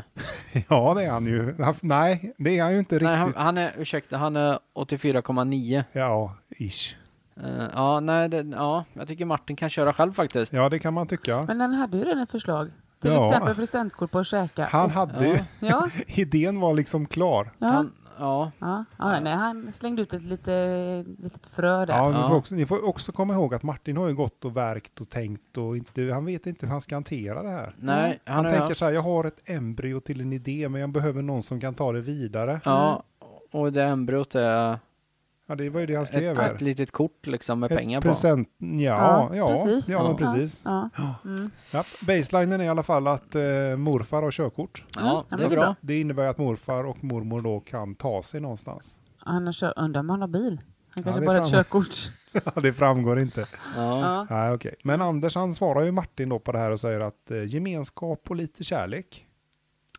[SPEAKER 1] Ja, det är han ju. Han- Nej, det är han ju inte
[SPEAKER 2] Nej, han,
[SPEAKER 1] riktigt.
[SPEAKER 2] han är, ursäkta, han är 84,9.
[SPEAKER 1] Ja, ish.
[SPEAKER 2] Eh, ja, nej, det, ja, jag tycker Martin kan köra själv faktiskt.
[SPEAKER 1] Ja, det kan man tycka.
[SPEAKER 3] Men han hade ju redan ett förslag. Till
[SPEAKER 1] Ja.
[SPEAKER 3] exempel presentkort på att käka.
[SPEAKER 1] Han
[SPEAKER 3] Och-
[SPEAKER 1] hade ju,
[SPEAKER 3] Ja.
[SPEAKER 1] idén var liksom klar.
[SPEAKER 3] Ja.
[SPEAKER 2] Han, ja,
[SPEAKER 3] Ja, ja, nej, han slängde ut ett lite, litet frö där.
[SPEAKER 1] Ja, Ni,
[SPEAKER 2] Ja.
[SPEAKER 1] får också, ni får också komma ihåg att Martin har ju gått och verkt och tänkt och inte, han vet inte hur han ska hantera det här.
[SPEAKER 2] nej, han,
[SPEAKER 1] Mm. Han
[SPEAKER 2] är,
[SPEAKER 1] tänker så här, jag har ett embryo till en idé men jag behöver någon som kan ta det vidare. Ja,
[SPEAKER 2] Ja, och det embryot är
[SPEAKER 1] det var ju det Mm. han skrev
[SPEAKER 2] ett,
[SPEAKER 1] här.
[SPEAKER 2] ett litet kort liksom med pengar på.
[SPEAKER 1] present, på. Ja, ja, ja, precis. Ja, men
[SPEAKER 2] Ja.
[SPEAKER 1] precis.
[SPEAKER 3] Ja. Mm.
[SPEAKER 1] Ja, baselinen är i alla fall att eh, morfar har körkort.
[SPEAKER 2] Ja,
[SPEAKER 3] Ja,
[SPEAKER 2] det är
[SPEAKER 3] men det är
[SPEAKER 2] bra.
[SPEAKER 3] bra.
[SPEAKER 1] Det innebär att morfar och mormor då kan ta sig någonstans.
[SPEAKER 3] Han har kör, undrar om han har bil. Han kanske
[SPEAKER 1] det
[SPEAKER 3] bara har ett
[SPEAKER 1] fram-
[SPEAKER 3] körkort.
[SPEAKER 1] Ja, det framgår inte.
[SPEAKER 2] Ja,
[SPEAKER 3] Ja.
[SPEAKER 1] Nej, okej. Men Anders han svarar ju Martin då på det här och säger att eh, gemenskap och lite kärlek.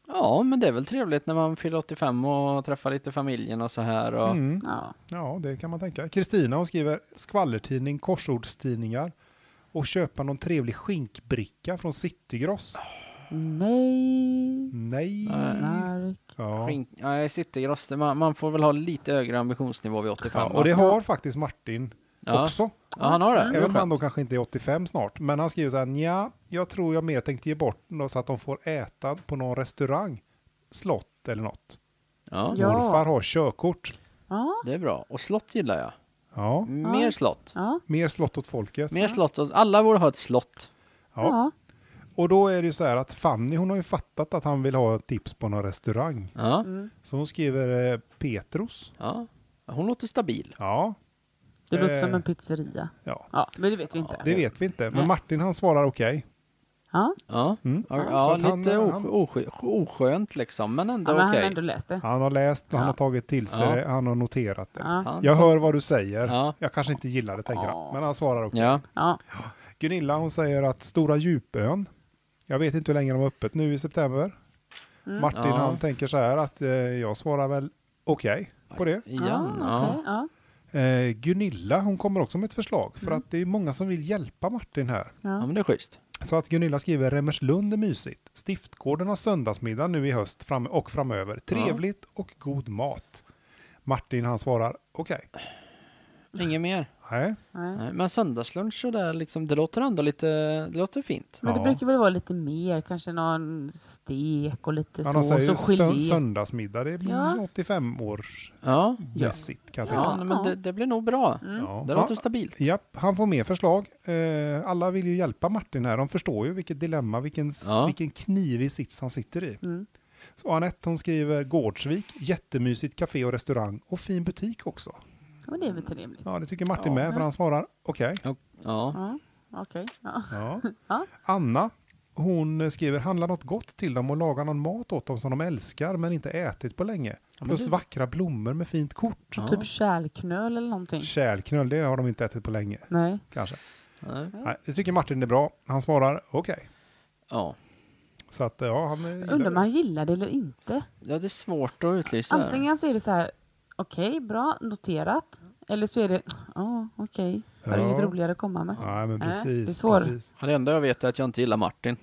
[SPEAKER 2] ja, men det är väl trevligt när man fyller 85 och träffar lite familjen och så här. Och,
[SPEAKER 1] Mm.
[SPEAKER 3] Ja.
[SPEAKER 1] Ja, det kan man tänka. Kristina hon skriver skvallertidning, korsordstidningar och köpa någon trevlig skinkbricka från Citygross.
[SPEAKER 3] Nej.
[SPEAKER 1] Nej.
[SPEAKER 2] Nej.
[SPEAKER 3] Snark.
[SPEAKER 1] Ja.
[SPEAKER 2] Skink, nej, citygross, det- man, man får väl ha lite högre ambitionsnivå vid 85.
[SPEAKER 1] Ja,
[SPEAKER 2] va?
[SPEAKER 1] och det har faktiskt Martin
[SPEAKER 2] ja.
[SPEAKER 1] också. Mm.
[SPEAKER 2] ja, han har det. det.
[SPEAKER 1] Även
[SPEAKER 2] är
[SPEAKER 1] om han
[SPEAKER 2] skönt.
[SPEAKER 1] då kanske inte är 85 snart. Men han skriver så här, "Nja, jag tror jag mer tänkte ge bort något så att de får äta på någon restaurang, slott eller något.
[SPEAKER 2] Ja,
[SPEAKER 3] Ja.
[SPEAKER 1] Morfar har körkort.
[SPEAKER 3] Ja.
[SPEAKER 2] det är bra. Och slott gillar jag.
[SPEAKER 1] Ja,
[SPEAKER 2] Mer
[SPEAKER 3] Ja.
[SPEAKER 2] slott.
[SPEAKER 3] Ja.
[SPEAKER 1] mer slott åt folket.
[SPEAKER 2] Mer slott. och- Alla borde ha ett slott.
[SPEAKER 1] Ja.
[SPEAKER 3] Ja.
[SPEAKER 1] Och då är det ju så här att Fanny hon har ju fattat att han vill ha tips på någon restaurang.
[SPEAKER 2] Ja,
[SPEAKER 3] Mm.
[SPEAKER 1] Så hon skriver eh, Petrus.
[SPEAKER 2] ja. Hon låter stabil.
[SPEAKER 1] Ja,
[SPEAKER 3] Det låter
[SPEAKER 1] Eh.
[SPEAKER 3] som en pizzeria.
[SPEAKER 1] ja.
[SPEAKER 3] Ja, men det vet vi inte.
[SPEAKER 1] Det vet vi inte. Men
[SPEAKER 2] Nej.
[SPEAKER 1] Martin han svarar okej.
[SPEAKER 3] Ja.
[SPEAKER 2] Ja,
[SPEAKER 1] Mm.
[SPEAKER 2] ja,
[SPEAKER 1] Så
[SPEAKER 2] ja
[SPEAKER 1] att han-
[SPEAKER 2] lite
[SPEAKER 1] han-
[SPEAKER 2] osj- osj- oskönt liksom, men ändå
[SPEAKER 3] Ja, men han har
[SPEAKER 2] okej.
[SPEAKER 3] ändå läst det.
[SPEAKER 1] Han har läst och han
[SPEAKER 3] Ja.
[SPEAKER 1] har tagit till sig
[SPEAKER 2] Ja.
[SPEAKER 1] det. Han har noterat det.
[SPEAKER 3] Ja.
[SPEAKER 2] Han-
[SPEAKER 1] Jag hör vad du säger.
[SPEAKER 2] Ja.
[SPEAKER 1] Jag kanske inte gillar det tänker han.
[SPEAKER 3] Ja.
[SPEAKER 1] Men han svarar okej.
[SPEAKER 2] Ja,
[SPEAKER 3] Ja.
[SPEAKER 1] Gunilla hon säger att Stora Djupön. Jag vet inte hur länge de är öppet nu i september.
[SPEAKER 3] Mm.
[SPEAKER 1] Martin
[SPEAKER 2] Ja.
[SPEAKER 1] han tänker så här att eh, jag svarar väl okej på det.
[SPEAKER 2] igen.
[SPEAKER 3] Ja,
[SPEAKER 2] Ja,
[SPEAKER 3] okej, ja.
[SPEAKER 1] Eh, Gunilla hon kommer också med ett förslag.
[SPEAKER 3] Mm.
[SPEAKER 1] För att det är många som vill hjälpa Martin här.
[SPEAKER 2] ja,
[SPEAKER 3] Ja.
[SPEAKER 2] men det är schysst.
[SPEAKER 1] Så att Gunilla skriver Remmerslund är mysigt. Stiftgården har söndagsmiddag nu i höst fram och framöver. Trevligt och god mat. Martin han svarar okej.
[SPEAKER 2] Inget mer.
[SPEAKER 1] Nej.
[SPEAKER 3] Nej.
[SPEAKER 2] Nej, men söndagslunch så där liksom, det låter ändå lite, det låter fint.
[SPEAKER 3] Men det
[SPEAKER 1] Ja.
[SPEAKER 3] brukar väl vara lite mer, kanske någon stek och lite
[SPEAKER 1] Men han
[SPEAKER 3] sås och
[SPEAKER 1] säger stö-
[SPEAKER 3] gelé.
[SPEAKER 1] söndagsmiddag. Det är
[SPEAKER 3] Ja.
[SPEAKER 1] 85 års
[SPEAKER 2] Ja, ja.
[SPEAKER 1] mässigt kan jag tycka.
[SPEAKER 2] ja men det, det blir nog bra.
[SPEAKER 1] Ja.
[SPEAKER 2] Det låter stabilt.
[SPEAKER 1] Ja, han får mer förslag. Eh, alla vill ju hjälpa Martin här. De förstår ju vilket dilemma, vilken, s-
[SPEAKER 2] Ja.
[SPEAKER 1] vilken knivig sits han sitter i.
[SPEAKER 3] Mm.
[SPEAKER 1] Så Anette hon skriver Gårdsvik, jättemysigt café och restaurang och fin butik också.
[SPEAKER 3] Och det är väl trevligt?
[SPEAKER 1] Ja, det tycker Martin
[SPEAKER 2] Ja.
[SPEAKER 1] med för han svarar okej.
[SPEAKER 2] Ja, ja.
[SPEAKER 3] Ja, okej. Ja.
[SPEAKER 1] Ja.
[SPEAKER 3] Ja.
[SPEAKER 1] Anna, hon skriver handla något gott till dem och laga någon mat åt dem som de älskar men inte ätit på länge.
[SPEAKER 2] men
[SPEAKER 1] Plus
[SPEAKER 2] du-
[SPEAKER 1] vackra blommor med fint kort.
[SPEAKER 2] Ja.
[SPEAKER 3] Typ kärlknöl eller någonting?
[SPEAKER 1] Kärlknöl, det har de inte ätit på länge
[SPEAKER 3] Nej.
[SPEAKER 1] kanske.
[SPEAKER 2] Nej.
[SPEAKER 1] Nej, det tycker Martin är bra. Han svarar okej.
[SPEAKER 2] ja.
[SPEAKER 1] Så att ja, han eh, gillar
[SPEAKER 3] Undrar om
[SPEAKER 1] det.
[SPEAKER 3] han gillar det eller inte.
[SPEAKER 2] Ja, det är svårt att utlysa. här.
[SPEAKER 3] Antingen så är det så här, okej, bra, noterat. Eller så är det, ja, okej, var det
[SPEAKER 1] Ja.
[SPEAKER 3] inget roligare att komma med?
[SPEAKER 1] Nej, men
[SPEAKER 3] Nej, det är
[SPEAKER 1] precis.
[SPEAKER 3] svår.
[SPEAKER 1] precis.
[SPEAKER 2] Ja, Äh, Det enda jag vet är att jag inte gillar Martin.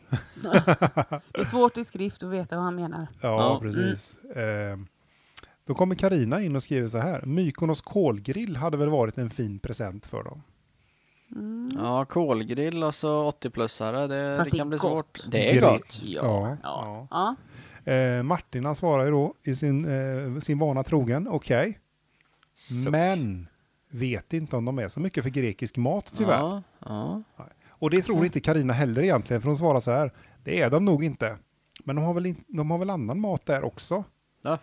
[SPEAKER 3] Det är svårt i skrift att veta vad han menar.
[SPEAKER 1] Ja,
[SPEAKER 2] Ja.
[SPEAKER 1] precis. Ehm, Då kommer Karina in och skriver så här. Mykonos kolgrill hade väl varit en fin present för dem.
[SPEAKER 2] Ja, kolgrill och så 80-plussare, det,
[SPEAKER 3] Fast
[SPEAKER 2] det
[SPEAKER 3] det är
[SPEAKER 2] kan bli
[SPEAKER 3] gott.
[SPEAKER 2] svårt. Det är
[SPEAKER 1] Grill.
[SPEAKER 2] gott.
[SPEAKER 1] Ja.
[SPEAKER 3] Ja.
[SPEAKER 1] ja.
[SPEAKER 3] Ja.
[SPEAKER 1] Eh, Martin han svarar ju då i sin, eh, sin vana trogen, okej,
[SPEAKER 2] Så-
[SPEAKER 1] men vet inte om de är så mycket för grekisk mat tyvärr.
[SPEAKER 2] Ja, Mm. ja.
[SPEAKER 1] Och det tror inte Karina heller egentligen, för hon svarar så här, det är de nog inte. Men de har väl, in, de har väl annan mat där också?
[SPEAKER 2] ja.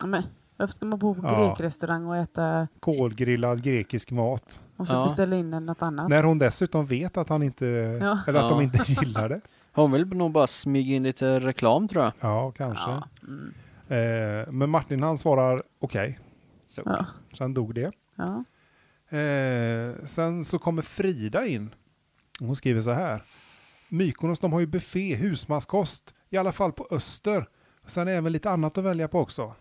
[SPEAKER 3] Ja, Men, varför ska man bo på
[SPEAKER 1] Ja.
[SPEAKER 3] grekrestaurang och äta
[SPEAKER 1] Kolgrillad grekisk mat.
[SPEAKER 3] och så
[SPEAKER 2] Ja.
[SPEAKER 3] beställa in något annat?
[SPEAKER 1] När hon dessutom vet att han inte,
[SPEAKER 3] Ja.
[SPEAKER 1] eller att de
[SPEAKER 2] Ja.
[SPEAKER 1] inte gillar det.
[SPEAKER 2] Hon vill nog bara smyga in lite reklam tror jag.
[SPEAKER 1] Ja, kanske.
[SPEAKER 3] Ja. Mm.
[SPEAKER 1] Eh, men Martin han svarar okej,
[SPEAKER 2] Så.
[SPEAKER 3] Ja.
[SPEAKER 1] sen dog det.
[SPEAKER 3] Ja.
[SPEAKER 1] Eh, sen så kommer Frida in. Hon skriver så här. Mykonos de har ju buffé, husmanskost, i alla fall på öster. Sen även lite annat att välja på också.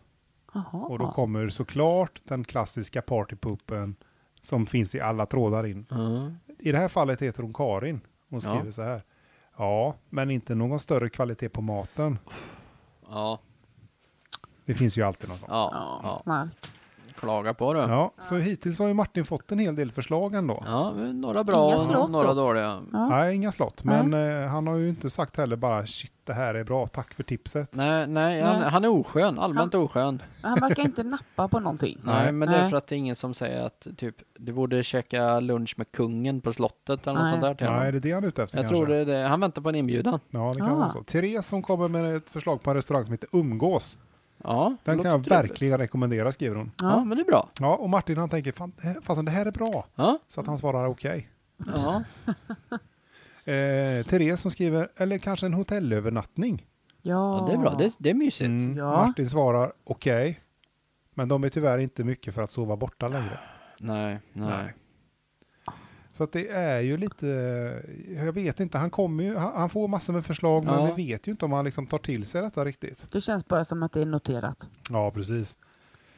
[SPEAKER 3] Jaha.
[SPEAKER 1] Och då kommer såklart den klassiska partypuppen som finns i alla trådar in.
[SPEAKER 2] Ja.
[SPEAKER 1] I det här fallet heter hon Karin. Hon
[SPEAKER 2] Ja.
[SPEAKER 1] skriver så här. Ja, men inte någon större kvalitet på maten.
[SPEAKER 2] Ja.
[SPEAKER 1] Det finns ju alltid någon sån.
[SPEAKER 2] Ja.
[SPEAKER 3] ja.
[SPEAKER 2] ja.
[SPEAKER 3] Snark.
[SPEAKER 2] Klaga på det. Ja.
[SPEAKER 1] Ja, så hittills har ju Martin fått en hel del förslag ändå.
[SPEAKER 2] men några bra
[SPEAKER 3] Inga slott
[SPEAKER 2] och några
[SPEAKER 3] dock.
[SPEAKER 2] dåliga.
[SPEAKER 3] Ja.
[SPEAKER 1] Nej, inga slott. Men eh, han har ju inte sagt heller bara shit, det här är bra, tack för tipset.
[SPEAKER 2] Nej, nej, han,
[SPEAKER 3] Nej.
[SPEAKER 2] han är oskön. Allmänt oskön.
[SPEAKER 3] Han verkar inte nappa på någonting.
[SPEAKER 2] Nej, men det är
[SPEAKER 3] Nej.
[SPEAKER 2] för att det är ingen som säger att typ du borde käka lunch med kungen på slottet eller något
[SPEAKER 3] Nej.
[SPEAKER 2] sånt där till
[SPEAKER 1] Nej,
[SPEAKER 2] honom.
[SPEAKER 1] det är det han är ute efter
[SPEAKER 2] Jag
[SPEAKER 1] kanske.
[SPEAKER 2] tror det är det. Han väntar på en inbjudan.
[SPEAKER 1] Ja, det kan
[SPEAKER 3] Ah.
[SPEAKER 1] vara så. Therese som kommer med ett förslag på en restaurang som heter Umgås.
[SPEAKER 2] Ja,
[SPEAKER 1] Den
[SPEAKER 2] låter
[SPEAKER 1] kan jag
[SPEAKER 2] trevligt.
[SPEAKER 1] verkligen rekommendera, skriver hon.
[SPEAKER 2] Ja. men det är bra.
[SPEAKER 1] Ja, och Martin han tänker, fan, det här- fasen det här är bra.
[SPEAKER 2] Ja,
[SPEAKER 1] Så att han svarar okej.
[SPEAKER 2] ja.
[SPEAKER 1] Eh, Therese som skriver, eller kanske en hotellövernattning.
[SPEAKER 3] Ja.
[SPEAKER 2] ja det är bra. Det, det är mysigt.
[SPEAKER 1] Mm.
[SPEAKER 3] Ja.
[SPEAKER 1] Martin svarar okej. Men de är tyvärr inte mycket för att sova borta längre.
[SPEAKER 2] Nej, nej.
[SPEAKER 1] Så att det är ju lite, jag vet inte, han kommer ju, han, han får massor med förslag
[SPEAKER 2] Ja.
[SPEAKER 1] men vi vet ju inte om han liksom tar till sig detta riktigt.
[SPEAKER 3] Det känns bara som att det är noterat.
[SPEAKER 1] Ja, precis.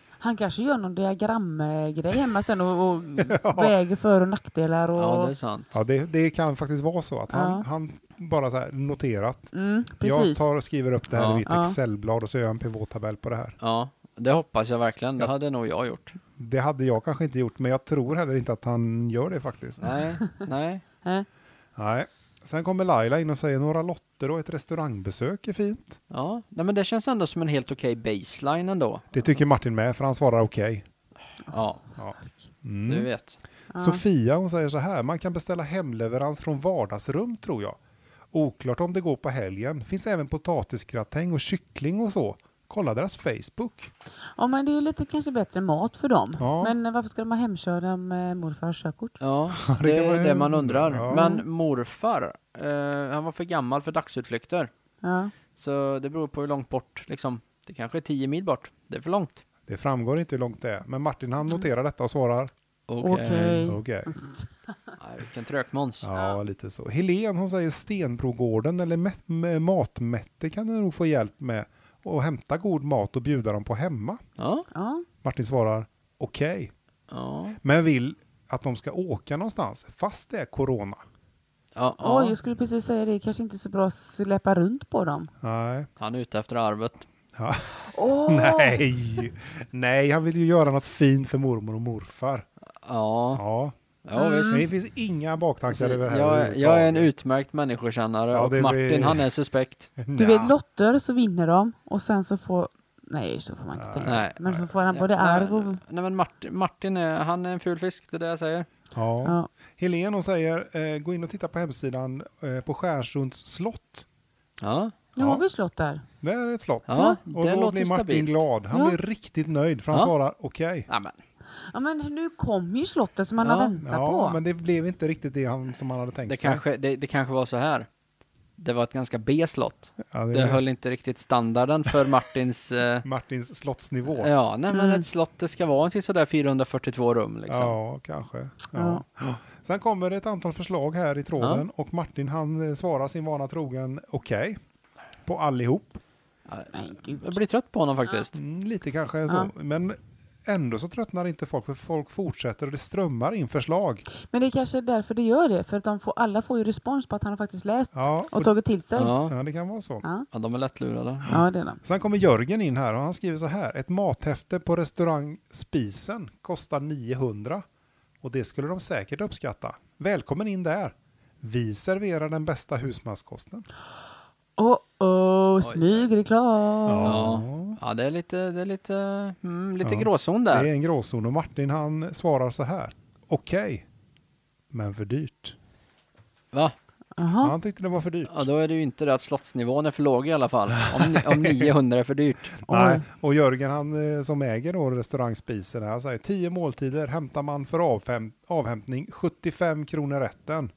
[SPEAKER 3] Han kanske gör någon diagramgrej hemma sen och, och väger för och nackdelar och...
[SPEAKER 2] Ja, det är sant.
[SPEAKER 1] Ja, det, det kan faktiskt vara så att han,
[SPEAKER 3] Ja.
[SPEAKER 1] han bara så här noterat.
[SPEAKER 3] mm, precis.
[SPEAKER 1] Jag tar och skriver upp det här
[SPEAKER 2] Ja.
[SPEAKER 1] i mitt
[SPEAKER 3] Ja.
[SPEAKER 1] Excelblad och så gör jag en pivot-tabell på det här.
[SPEAKER 2] Ja, det hoppas jag verkligen. Det
[SPEAKER 1] Ja.
[SPEAKER 2] hade nog jag gjort.
[SPEAKER 1] Det hade jag kanske inte gjort, men jag tror heller inte att han gör det faktiskt.
[SPEAKER 2] Nej, nej.
[SPEAKER 3] Eh,
[SPEAKER 1] Nej. Sen kommer Laila in och säger några lotter och ett restaurangbesök är fint.
[SPEAKER 2] Ja, nej, men det känns ändå som en helt okej baseline ändå.
[SPEAKER 1] Det tycker Martin med, för han svarar okej.
[SPEAKER 2] Ja,
[SPEAKER 1] Ja.
[SPEAKER 2] du
[SPEAKER 1] Mm.
[SPEAKER 2] vet.
[SPEAKER 3] ja.
[SPEAKER 1] Sofia hon säger så här, man kan beställa hemleverans från vardagsrum tror jag. Oklart om det går på helgen. Finns även potatisgratäng och kyckling och så. Kolla deras Facebook.
[SPEAKER 3] Ja, men det är ju lite kanske bättre mat för dem.
[SPEAKER 1] Ja.
[SPEAKER 3] Men eh, varför ska de ha hemkörda med morfars körkort?
[SPEAKER 2] Ja,
[SPEAKER 1] det
[SPEAKER 2] det
[SPEAKER 1] kan vara
[SPEAKER 2] är det man undrar.
[SPEAKER 1] Ja.
[SPEAKER 2] Men morfar, eh, han var för gammal för dagsutflykter.
[SPEAKER 3] Ja.
[SPEAKER 2] Så det beror på hur långt bort, liksom. Det kanske är 10 mil bort. Det är för långt.
[SPEAKER 1] Det framgår inte hur långt det är, men Martin han noterar detta och svarar
[SPEAKER 2] Okej.
[SPEAKER 3] Okej.
[SPEAKER 1] okej.
[SPEAKER 2] eh, Nej, vilken trökmåns.
[SPEAKER 1] Ja, lite så. Helen hon säger Stenbrogården eller mä- mä- Matmätte kan du nog få hjälp med och hämta god mat och bjuda dem på hemma.
[SPEAKER 2] Ja,
[SPEAKER 3] Ja.
[SPEAKER 1] Martin svarar okej,
[SPEAKER 2] ja,
[SPEAKER 1] men vill att de ska åka någonstans fast det är corona.
[SPEAKER 2] ja.
[SPEAKER 3] Oj,
[SPEAKER 2] ja.
[SPEAKER 3] jag skulle precis säga det. Kanske inte så bra att släppa runt på dem.
[SPEAKER 1] Nej.
[SPEAKER 2] Han är ute efter arvet.
[SPEAKER 1] Ja.
[SPEAKER 3] Åh!
[SPEAKER 1] Nej. Nej, han vill ju göra något fint för mormor och morfar.
[SPEAKER 2] Ja,
[SPEAKER 1] Ja.
[SPEAKER 2] ja visst.
[SPEAKER 1] Men det finns inga baktankar över det här
[SPEAKER 2] Jag, jag är en
[SPEAKER 1] överhuvudtaget.
[SPEAKER 2] utmärkt människokännare
[SPEAKER 1] Ja,
[SPEAKER 2] och
[SPEAKER 1] det
[SPEAKER 2] Martin
[SPEAKER 1] blir-
[SPEAKER 2] han är suspekt.
[SPEAKER 3] Du vet
[SPEAKER 1] Nja.
[SPEAKER 3] lotter så vinner de och sen så får... Nej, så får man inte tänka.
[SPEAKER 2] Nej.
[SPEAKER 3] Men så får han
[SPEAKER 2] Ja,
[SPEAKER 3] både
[SPEAKER 2] nej,
[SPEAKER 3] arv och...
[SPEAKER 2] Nej men Martin, Martin är, han är en ful fisk, det är det jag säger.
[SPEAKER 1] Ja.
[SPEAKER 3] Ja.
[SPEAKER 1] Helen hon säger, eh, gå in och titta på hemsidan eh, på Stjärnsunds slott.
[SPEAKER 2] Ja,
[SPEAKER 3] Nu
[SPEAKER 1] Ja.
[SPEAKER 3] har vi slott där.
[SPEAKER 1] Det är ett slott.
[SPEAKER 2] Ja,
[SPEAKER 1] och
[SPEAKER 2] det
[SPEAKER 1] då
[SPEAKER 2] låter
[SPEAKER 1] blir Martin
[SPEAKER 2] stabilt.
[SPEAKER 1] glad. Han
[SPEAKER 3] Ja.
[SPEAKER 1] blir riktigt nöjd för han
[SPEAKER 2] Ja.
[SPEAKER 1] svarar okej.
[SPEAKER 2] Ja, men.
[SPEAKER 3] Ja men nu kom ju slottet som man
[SPEAKER 2] Ja,
[SPEAKER 3] har väntat
[SPEAKER 1] Ja,
[SPEAKER 3] på.
[SPEAKER 1] men det blev inte riktigt det han, som han hade tänkt
[SPEAKER 2] Det,
[SPEAKER 1] sig.
[SPEAKER 2] kanske, det, det kanske var så här. Det var ett ganska B slott.
[SPEAKER 1] ja, det
[SPEAKER 2] Det
[SPEAKER 1] är
[SPEAKER 2] höll inte riktigt standarden för Martins... eh,
[SPEAKER 1] Martins slottsnivå.
[SPEAKER 2] ja, nej men
[SPEAKER 3] Mm.
[SPEAKER 2] ett slott det ska vara en sådär 442 rum liksom.
[SPEAKER 1] Ja, kanske. Ja. Sen kommer det ett antal förslag här i tråden och Martin han eh, svarar sin vana trogen okej på allihop.
[SPEAKER 3] Men
[SPEAKER 2] Jag
[SPEAKER 3] gud.
[SPEAKER 2] blir trött på honom faktiskt.
[SPEAKER 1] Mm, lite kanske så.
[SPEAKER 3] Ja.
[SPEAKER 1] Men ändå så tröttnar inte folk för folk fortsätter och det strömmar in förslag.
[SPEAKER 3] Men det är kanske är därför det gör det. För att de får, alla får ju respons på att han har faktiskt läst
[SPEAKER 1] Ja,
[SPEAKER 3] och
[SPEAKER 1] och,
[SPEAKER 3] tagit till sig. Ja,
[SPEAKER 2] Ja.
[SPEAKER 1] ja det kan vara så.
[SPEAKER 3] ja.
[SPEAKER 2] ja, de är lättlurade.
[SPEAKER 3] det är de.
[SPEAKER 1] Sen kommer Jörgen in här och han skriver så här. Ett mathäfte på restaurang Spisen kostar 900 och det skulle de säkert uppskatta. Välkommen in där. Vi serverar den bästa husmanskosten.
[SPEAKER 3] Oh, oh,
[SPEAKER 2] Oj.
[SPEAKER 3] smygreklam.
[SPEAKER 2] Ja. Ja, det är lite, det är lite, mm, lite
[SPEAKER 1] Ja.
[SPEAKER 2] gråzon
[SPEAKER 1] Det
[SPEAKER 2] där.
[SPEAKER 1] är en gråzon och Martin han svarar så här. Okej, men för dyrt.
[SPEAKER 2] Va?
[SPEAKER 3] Jaha.
[SPEAKER 1] Han tyckte det var för dyrt.
[SPEAKER 2] Ja, då är det ju inte det att slottsnivån är för låg i alla fall. Om, ni- om 900 är för dyrt.
[SPEAKER 1] Nej.
[SPEAKER 3] Oj.
[SPEAKER 1] Och Jörgen han eh, som äger då restaurangspisen här, han säger 10 måltider hämtar man för avfäm- avhämtning 75 kronor rätten.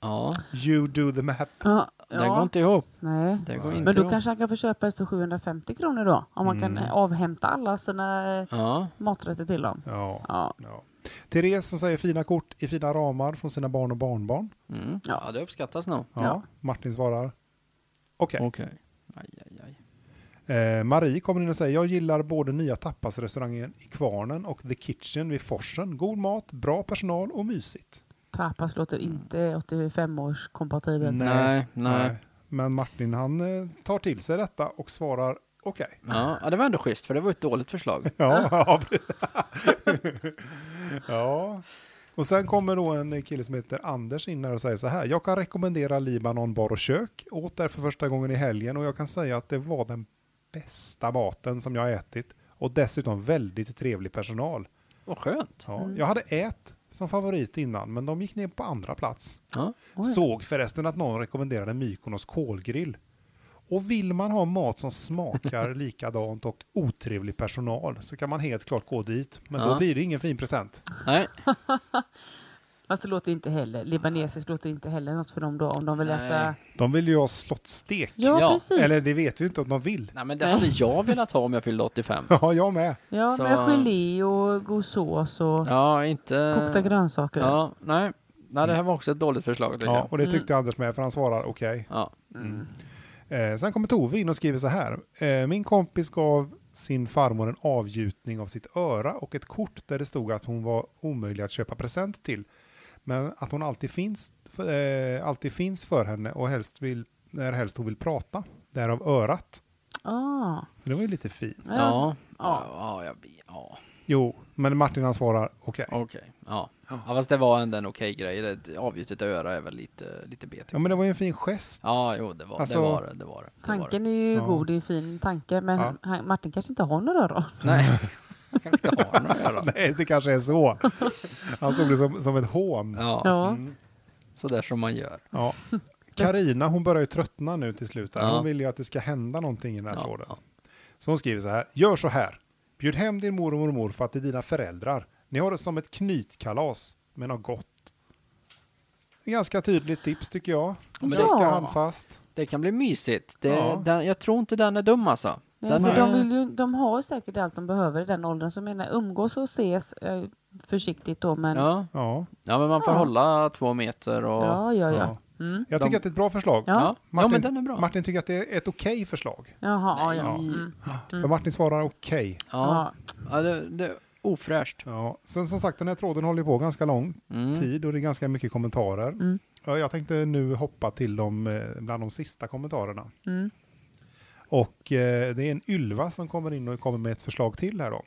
[SPEAKER 2] Ja,
[SPEAKER 1] You do the math.
[SPEAKER 3] Ja,
[SPEAKER 2] det går
[SPEAKER 3] ja.
[SPEAKER 2] inte ihop.
[SPEAKER 3] Nej.
[SPEAKER 2] Det går
[SPEAKER 1] Men
[SPEAKER 2] inte Mm.
[SPEAKER 3] Men då
[SPEAKER 2] ihop.
[SPEAKER 3] kanske han kan få köpa ett för 750 kronor då. Om man kan eh, avhämta alla sina eh,
[SPEAKER 2] Ja,
[SPEAKER 3] maträtter till dem.
[SPEAKER 1] Ja.
[SPEAKER 3] Ja.
[SPEAKER 1] ja. Therese som säger fina kort i fina ramar från sina barn och barnbarn.
[SPEAKER 2] mm.
[SPEAKER 3] Ja.
[SPEAKER 2] ja det uppskattas nog.
[SPEAKER 1] Ja.
[SPEAKER 3] Ja.
[SPEAKER 1] Martin svarar. Okej.
[SPEAKER 2] Okej. Aj, aj, aj.
[SPEAKER 1] Eh, Marie kommer in och säger jag gillar både nya tapasrestaurangen i Kvarnen och The Kitchen vid Forsen. God mat, bra personal och mysigt.
[SPEAKER 3] Tapas låter inte 85-års kompatibelt.
[SPEAKER 1] Nej.
[SPEAKER 2] Nej, nej.
[SPEAKER 1] Men Martin han eh, tar till sig detta och svarar okej.
[SPEAKER 2] Ja, ja, det var ändå schysst för det var ett dåligt förslag.
[SPEAKER 1] Ja, ja. precis. ja. Och sen kommer då en kille som heter Anders in här och säger så här. Jag kan rekommendera Libanon bar och kök. Åt där för första gången i helgen och jag kan säga att det var den bästa maten som jag ätit. Och dessutom väldigt trevlig personal.
[SPEAKER 2] Vad skönt.
[SPEAKER 1] Ja,
[SPEAKER 3] Mm.
[SPEAKER 1] Jag hade ät som favorit innan men de gick ner på andra plats.
[SPEAKER 2] Ja.
[SPEAKER 3] Oj.
[SPEAKER 1] Såg förresten att någon rekommenderade Mykonos kolgrill. Och vill man ha mat som smakar likadant och otrevlig personal så kan man helt klart gå dit. Men
[SPEAKER 2] Ja.
[SPEAKER 1] då blir det ingen fin present.
[SPEAKER 2] Nej,
[SPEAKER 3] Fast det låter inte heller, libanesiskt låter inte heller något för dem då om de vill
[SPEAKER 2] Nej.
[SPEAKER 3] äta.
[SPEAKER 1] De vill ju ha slottstek.
[SPEAKER 3] Ja,
[SPEAKER 2] Ja,
[SPEAKER 3] precis.
[SPEAKER 1] Eller det vet vi inte om de vill.
[SPEAKER 2] nej men det hade jag velat ha om jag fyllde 85.
[SPEAKER 1] Ja, jag med.
[SPEAKER 3] Ja,
[SPEAKER 2] Så-
[SPEAKER 3] med gelé och god sås och
[SPEAKER 2] Ja, inte...
[SPEAKER 3] kokta grönsaker.
[SPEAKER 2] Ja, nej. Nej, det här var också ett dåligt förslag tycker
[SPEAKER 1] Ja,
[SPEAKER 2] jag.
[SPEAKER 1] och det
[SPEAKER 3] Mm.
[SPEAKER 1] tyckte Anders med för han svarar okej.
[SPEAKER 2] Ja.
[SPEAKER 1] Eh, sen kommer Tove in och skriver så här. Eh, min kompis gav sin farmor en avgjutning av sitt öra och ett kort där det stod att hon var omöjlig att köpa present till. Men att hon alltid finns, eh, alltid finns för henne och helst vill, när helst hon vill prata. Därav örat.
[SPEAKER 3] Ah,
[SPEAKER 1] Så det var ju lite fint.
[SPEAKER 2] Ja. Ja.
[SPEAKER 3] Ja.
[SPEAKER 2] Ja, jag vet. Ja,
[SPEAKER 1] Jo, men Martin han svarar okej.
[SPEAKER 2] okej. Ja. ja, fast det var ändå en okej grej. Det avgjutet öra är väl lite, lite B tycker
[SPEAKER 1] Ja,
[SPEAKER 2] jag.
[SPEAKER 1] men det var ju en fin gest.
[SPEAKER 2] Ja, jo, det var
[SPEAKER 1] Alltså,
[SPEAKER 2] det. Var, det, det var, det. det
[SPEAKER 3] tanken är ju
[SPEAKER 1] Ja.
[SPEAKER 3] god, det är en fin tanke, men
[SPEAKER 1] Ja.
[SPEAKER 3] han, Martin kanske inte har några öron.
[SPEAKER 2] Var det. Nej, jag kan inte ha några öron.
[SPEAKER 1] Nej, det kanske är så. Han såg det som, som ett hån.
[SPEAKER 2] Ja,
[SPEAKER 3] Ja.
[SPEAKER 1] Mm.
[SPEAKER 2] sådär som man gör.
[SPEAKER 1] Ja. Karina, hon börjar ju tröttna nu till slut. Här.
[SPEAKER 2] Ja.
[SPEAKER 1] Hon vill ju att det ska hända någonting i den här
[SPEAKER 2] Ja,
[SPEAKER 1] tråden.
[SPEAKER 2] ja.
[SPEAKER 1] Så hon skriver så här. Gör så här. Bjud hem din mormor och morfar till dina föräldrar. Ni har det som ett knytkalas, men har gott. Ganska tydligt tips tycker jag.
[SPEAKER 2] men det-
[SPEAKER 1] Ganska
[SPEAKER 3] Ja.
[SPEAKER 1] handfast.
[SPEAKER 2] Det kan bli mysigt. Det,
[SPEAKER 1] Ja.
[SPEAKER 2] den, jag tror inte den är dum alltså.
[SPEAKER 3] Nej,
[SPEAKER 2] den
[SPEAKER 3] för
[SPEAKER 2] är-
[SPEAKER 3] de, vill ju, de har ju säkert allt de behöver i den åldern, så jag menar umgås och ses eh, försiktigt då, men ja,
[SPEAKER 2] ja.
[SPEAKER 1] Ja.
[SPEAKER 2] ja, men man får
[SPEAKER 3] Ja.
[SPEAKER 2] hålla två meter och... Ja,
[SPEAKER 3] ja, ja.
[SPEAKER 1] Ja.
[SPEAKER 3] Mm.
[SPEAKER 1] Jag tycker
[SPEAKER 2] De-
[SPEAKER 1] att det är ett bra förslag.
[SPEAKER 3] Ja.
[SPEAKER 2] ja. men den är bra.
[SPEAKER 1] Martin tycker att det är ett okej förslag.
[SPEAKER 3] Jaha,
[SPEAKER 2] Nej.
[SPEAKER 3] ja.
[SPEAKER 1] Ja.
[SPEAKER 3] Mm.
[SPEAKER 1] För Martin svarar okej.
[SPEAKER 2] ja.
[SPEAKER 3] ja.
[SPEAKER 2] ja det, det är ofräscht.
[SPEAKER 1] Ja. Sen som sagt, den här tråden håller ju på ganska lång
[SPEAKER 2] Mm.
[SPEAKER 1] tid och det är ganska mycket kommentarer.
[SPEAKER 3] Mm.
[SPEAKER 1] Ja, Jag tänkte nu hoppa till de, eh, bland de sista kommentarerna.
[SPEAKER 3] Mm.
[SPEAKER 1] Och eh, det är en Ylva som kommer in och kommer med ett förslag till här då.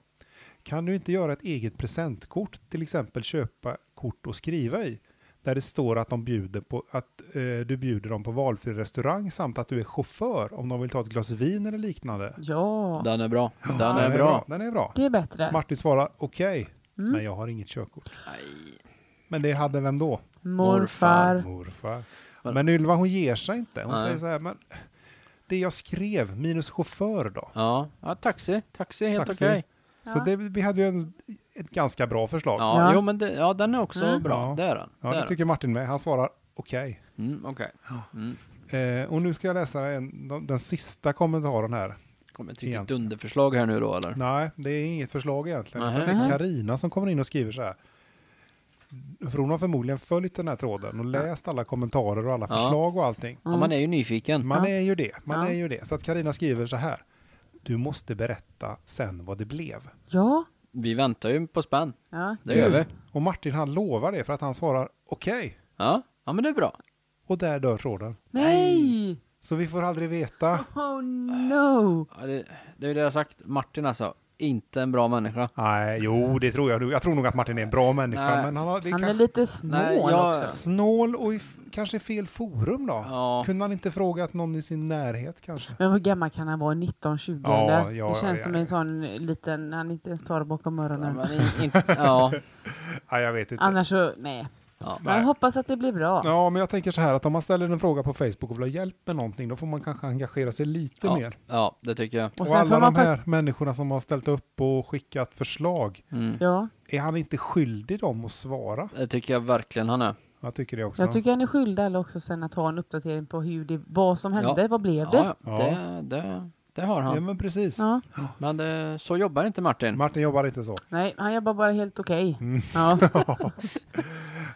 [SPEAKER 1] Kan du inte göra ett eget presentkort, till exempel köpa kort och skriva i? Där det står att, de bjuder på, att eh, du bjuder dem på valfri restaurang samt att du är chaufför om de vill ta ett glas vin eller liknande.
[SPEAKER 3] ja.
[SPEAKER 2] Den är bra. Den är bra.
[SPEAKER 1] Den är bra.
[SPEAKER 3] det är bättre.
[SPEAKER 1] Martin svarar okej,
[SPEAKER 3] Mm.
[SPEAKER 1] men jag har inget körkort.
[SPEAKER 2] Nej.
[SPEAKER 1] Men det hade vem då?
[SPEAKER 3] Morfar.
[SPEAKER 1] Morfar.
[SPEAKER 2] Men-
[SPEAKER 1] Men Ylva hon ger sig inte. Hon
[SPEAKER 2] Nej.
[SPEAKER 1] säger så här, men det jag skrev minus chaufför då.
[SPEAKER 2] Ja, ja taxi. Taxi är helt
[SPEAKER 1] Taxi.
[SPEAKER 2] okej.
[SPEAKER 1] Så
[SPEAKER 3] Ja.
[SPEAKER 1] det, vi hade ju en, ett ganska bra förslag. Ja,
[SPEAKER 2] Ja,
[SPEAKER 3] Ja.
[SPEAKER 2] Jo, men det, ja, den är också
[SPEAKER 3] Mm.
[SPEAKER 2] bra.
[SPEAKER 1] Ja.
[SPEAKER 2] Det är den. det är
[SPEAKER 1] det tycker Martin med. Han svarar okej.
[SPEAKER 2] den. Mm, okej. Mm.
[SPEAKER 1] Eh, och nu ska jag läsa en, de- den sista kommentaren här.
[SPEAKER 2] Kommer ett riktigt
[SPEAKER 1] Egentligen.
[SPEAKER 2] dunderförslag här nu då eller?
[SPEAKER 1] Nej, det är inget förslag egentligen.
[SPEAKER 2] Nähä.
[SPEAKER 1] Det är Karina som kommer in och skriver så här. För hon har förmodligen följt den här tråden och läst alla kommentarer och alla
[SPEAKER 2] Ja.
[SPEAKER 1] förslag och allting.
[SPEAKER 3] Mm.
[SPEAKER 2] Ja, man är ju nyfiken.
[SPEAKER 1] Man
[SPEAKER 3] Ja.
[SPEAKER 1] är ju det. Man
[SPEAKER 3] Ja.
[SPEAKER 1] är ju det. Så att Karina skriver så här. Du måste berätta sen vad det blev.
[SPEAKER 3] Ja.
[SPEAKER 2] Vi väntar ju på spänn.
[SPEAKER 3] ja.
[SPEAKER 2] Det gör vi.
[SPEAKER 1] Och Martin han lovar det för att han svarar okej.
[SPEAKER 2] Ja, ja men det är bra.
[SPEAKER 1] Och där dör tråden.
[SPEAKER 3] Nej!
[SPEAKER 1] Så vi får aldrig veta.
[SPEAKER 3] Oh no!
[SPEAKER 2] Ja, det, det är ju det jag har sagt. Martin alltså, inte en bra människa.
[SPEAKER 1] Nej, jo det tror jag nog. Jag tror nog att Martin är en bra människa.
[SPEAKER 2] Nej.
[SPEAKER 1] Men han, har, det
[SPEAKER 3] Han är
[SPEAKER 1] kanske-
[SPEAKER 3] lite snål
[SPEAKER 2] Nej, jag-
[SPEAKER 3] också.
[SPEAKER 1] Snål och i f- kanske i fel forum då?
[SPEAKER 2] Ja.
[SPEAKER 1] Kunde han inte frågat någon i sin närhet kanske?
[SPEAKER 3] Men hur gammal kan han vara? 19, 20
[SPEAKER 1] Ja,
[SPEAKER 3] eller?
[SPEAKER 1] ja,
[SPEAKER 3] det
[SPEAKER 1] ja,
[SPEAKER 3] känns
[SPEAKER 1] ja,
[SPEAKER 3] som
[SPEAKER 1] ja.
[SPEAKER 3] en sån liten, han inte ens tar det bakom
[SPEAKER 2] Ja,
[SPEAKER 3] öronen.
[SPEAKER 2] men in, in, ja,
[SPEAKER 1] Ja, jag vet inte.
[SPEAKER 3] Annars så, nej.
[SPEAKER 2] ja.
[SPEAKER 1] Nej.
[SPEAKER 3] Jag hoppas att det blir bra.
[SPEAKER 1] Ja, men jag tänker så här att om man ställer en fråga på Facebook och vill ha hjälp med någonting, då får man kanske engagera sig lite
[SPEAKER 2] ja,
[SPEAKER 1] mer.
[SPEAKER 2] ja, det tycker jag.
[SPEAKER 1] Och,
[SPEAKER 3] sen
[SPEAKER 1] alla
[SPEAKER 3] får
[SPEAKER 1] de
[SPEAKER 3] man
[SPEAKER 1] här människorna som har ställt upp och skickat förslag,
[SPEAKER 2] Mm.
[SPEAKER 3] Ja,
[SPEAKER 1] är han inte skyldig dem att svara?
[SPEAKER 2] Det tycker jag verkligen han är.
[SPEAKER 1] Jag tycker det också.
[SPEAKER 3] jag tycker han är skyldig alla också sen att ha en uppdatering på hur det, vad som hände,
[SPEAKER 2] Ja.
[SPEAKER 3] vad blev det?
[SPEAKER 2] Ja,
[SPEAKER 1] Ja.
[SPEAKER 2] det, det, det har
[SPEAKER 1] Ja,
[SPEAKER 2] han.
[SPEAKER 1] men precis.
[SPEAKER 3] Ja.
[SPEAKER 2] Men det, så jobbar inte Martin.
[SPEAKER 1] Martin jobbar inte så.
[SPEAKER 3] Nej, han jobbar bara helt okej.
[SPEAKER 1] Mm.
[SPEAKER 3] Ja.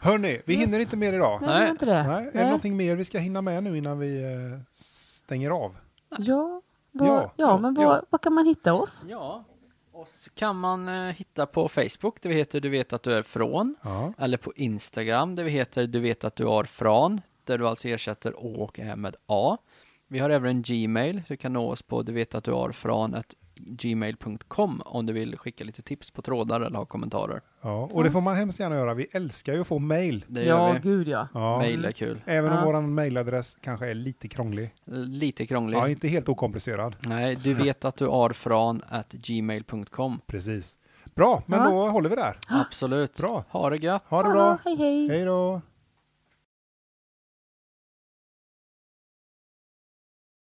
[SPEAKER 1] Hörni, vi
[SPEAKER 3] Yes.
[SPEAKER 1] hinner inte mer idag.
[SPEAKER 3] Nej, det var inte det.
[SPEAKER 1] Nej, är det någonting mer vi ska hinna med nu innan vi eh, stänger av?
[SPEAKER 3] Ja, vad,
[SPEAKER 1] Ja,
[SPEAKER 3] ja,
[SPEAKER 2] ja,
[SPEAKER 3] men
[SPEAKER 2] ja.
[SPEAKER 3] vad, vad kan man hitta oss?
[SPEAKER 2] Ja, oss kan man eh, hitta på Facebook, där vi heter Du vet att du är från.
[SPEAKER 1] Ja.
[SPEAKER 2] Eller på Instagram, där vi heter Du vet att du är från. Där du alltså ersätter Å och Ä med A. Vi har även en Gmail, du kan nå oss på du vet att du är från ett gmail.com om du vill skicka lite tips på trådar eller ha kommentarer.
[SPEAKER 1] Ja, och det får man hemskt gärna göra. Vi älskar ju att få mail.
[SPEAKER 2] Det gör
[SPEAKER 3] Ja,
[SPEAKER 2] vi.
[SPEAKER 3] gud ja.
[SPEAKER 1] Ja.
[SPEAKER 2] Mail är kul.
[SPEAKER 1] Även om
[SPEAKER 3] Ja.
[SPEAKER 1] vår mailadress kanske är lite krånglig.
[SPEAKER 2] Lite krånglig.
[SPEAKER 1] Ja, inte helt okomplicerad.
[SPEAKER 2] Nej, du vet att du är från at gmail.com.
[SPEAKER 1] Precis. Bra, men
[SPEAKER 3] Ja.
[SPEAKER 1] då håller vi där.
[SPEAKER 2] Absolut.
[SPEAKER 1] Bra.
[SPEAKER 2] Ha det gött.
[SPEAKER 1] Ha det
[SPEAKER 3] Ja,
[SPEAKER 1] bra.
[SPEAKER 3] hej hej.
[SPEAKER 1] Hej då.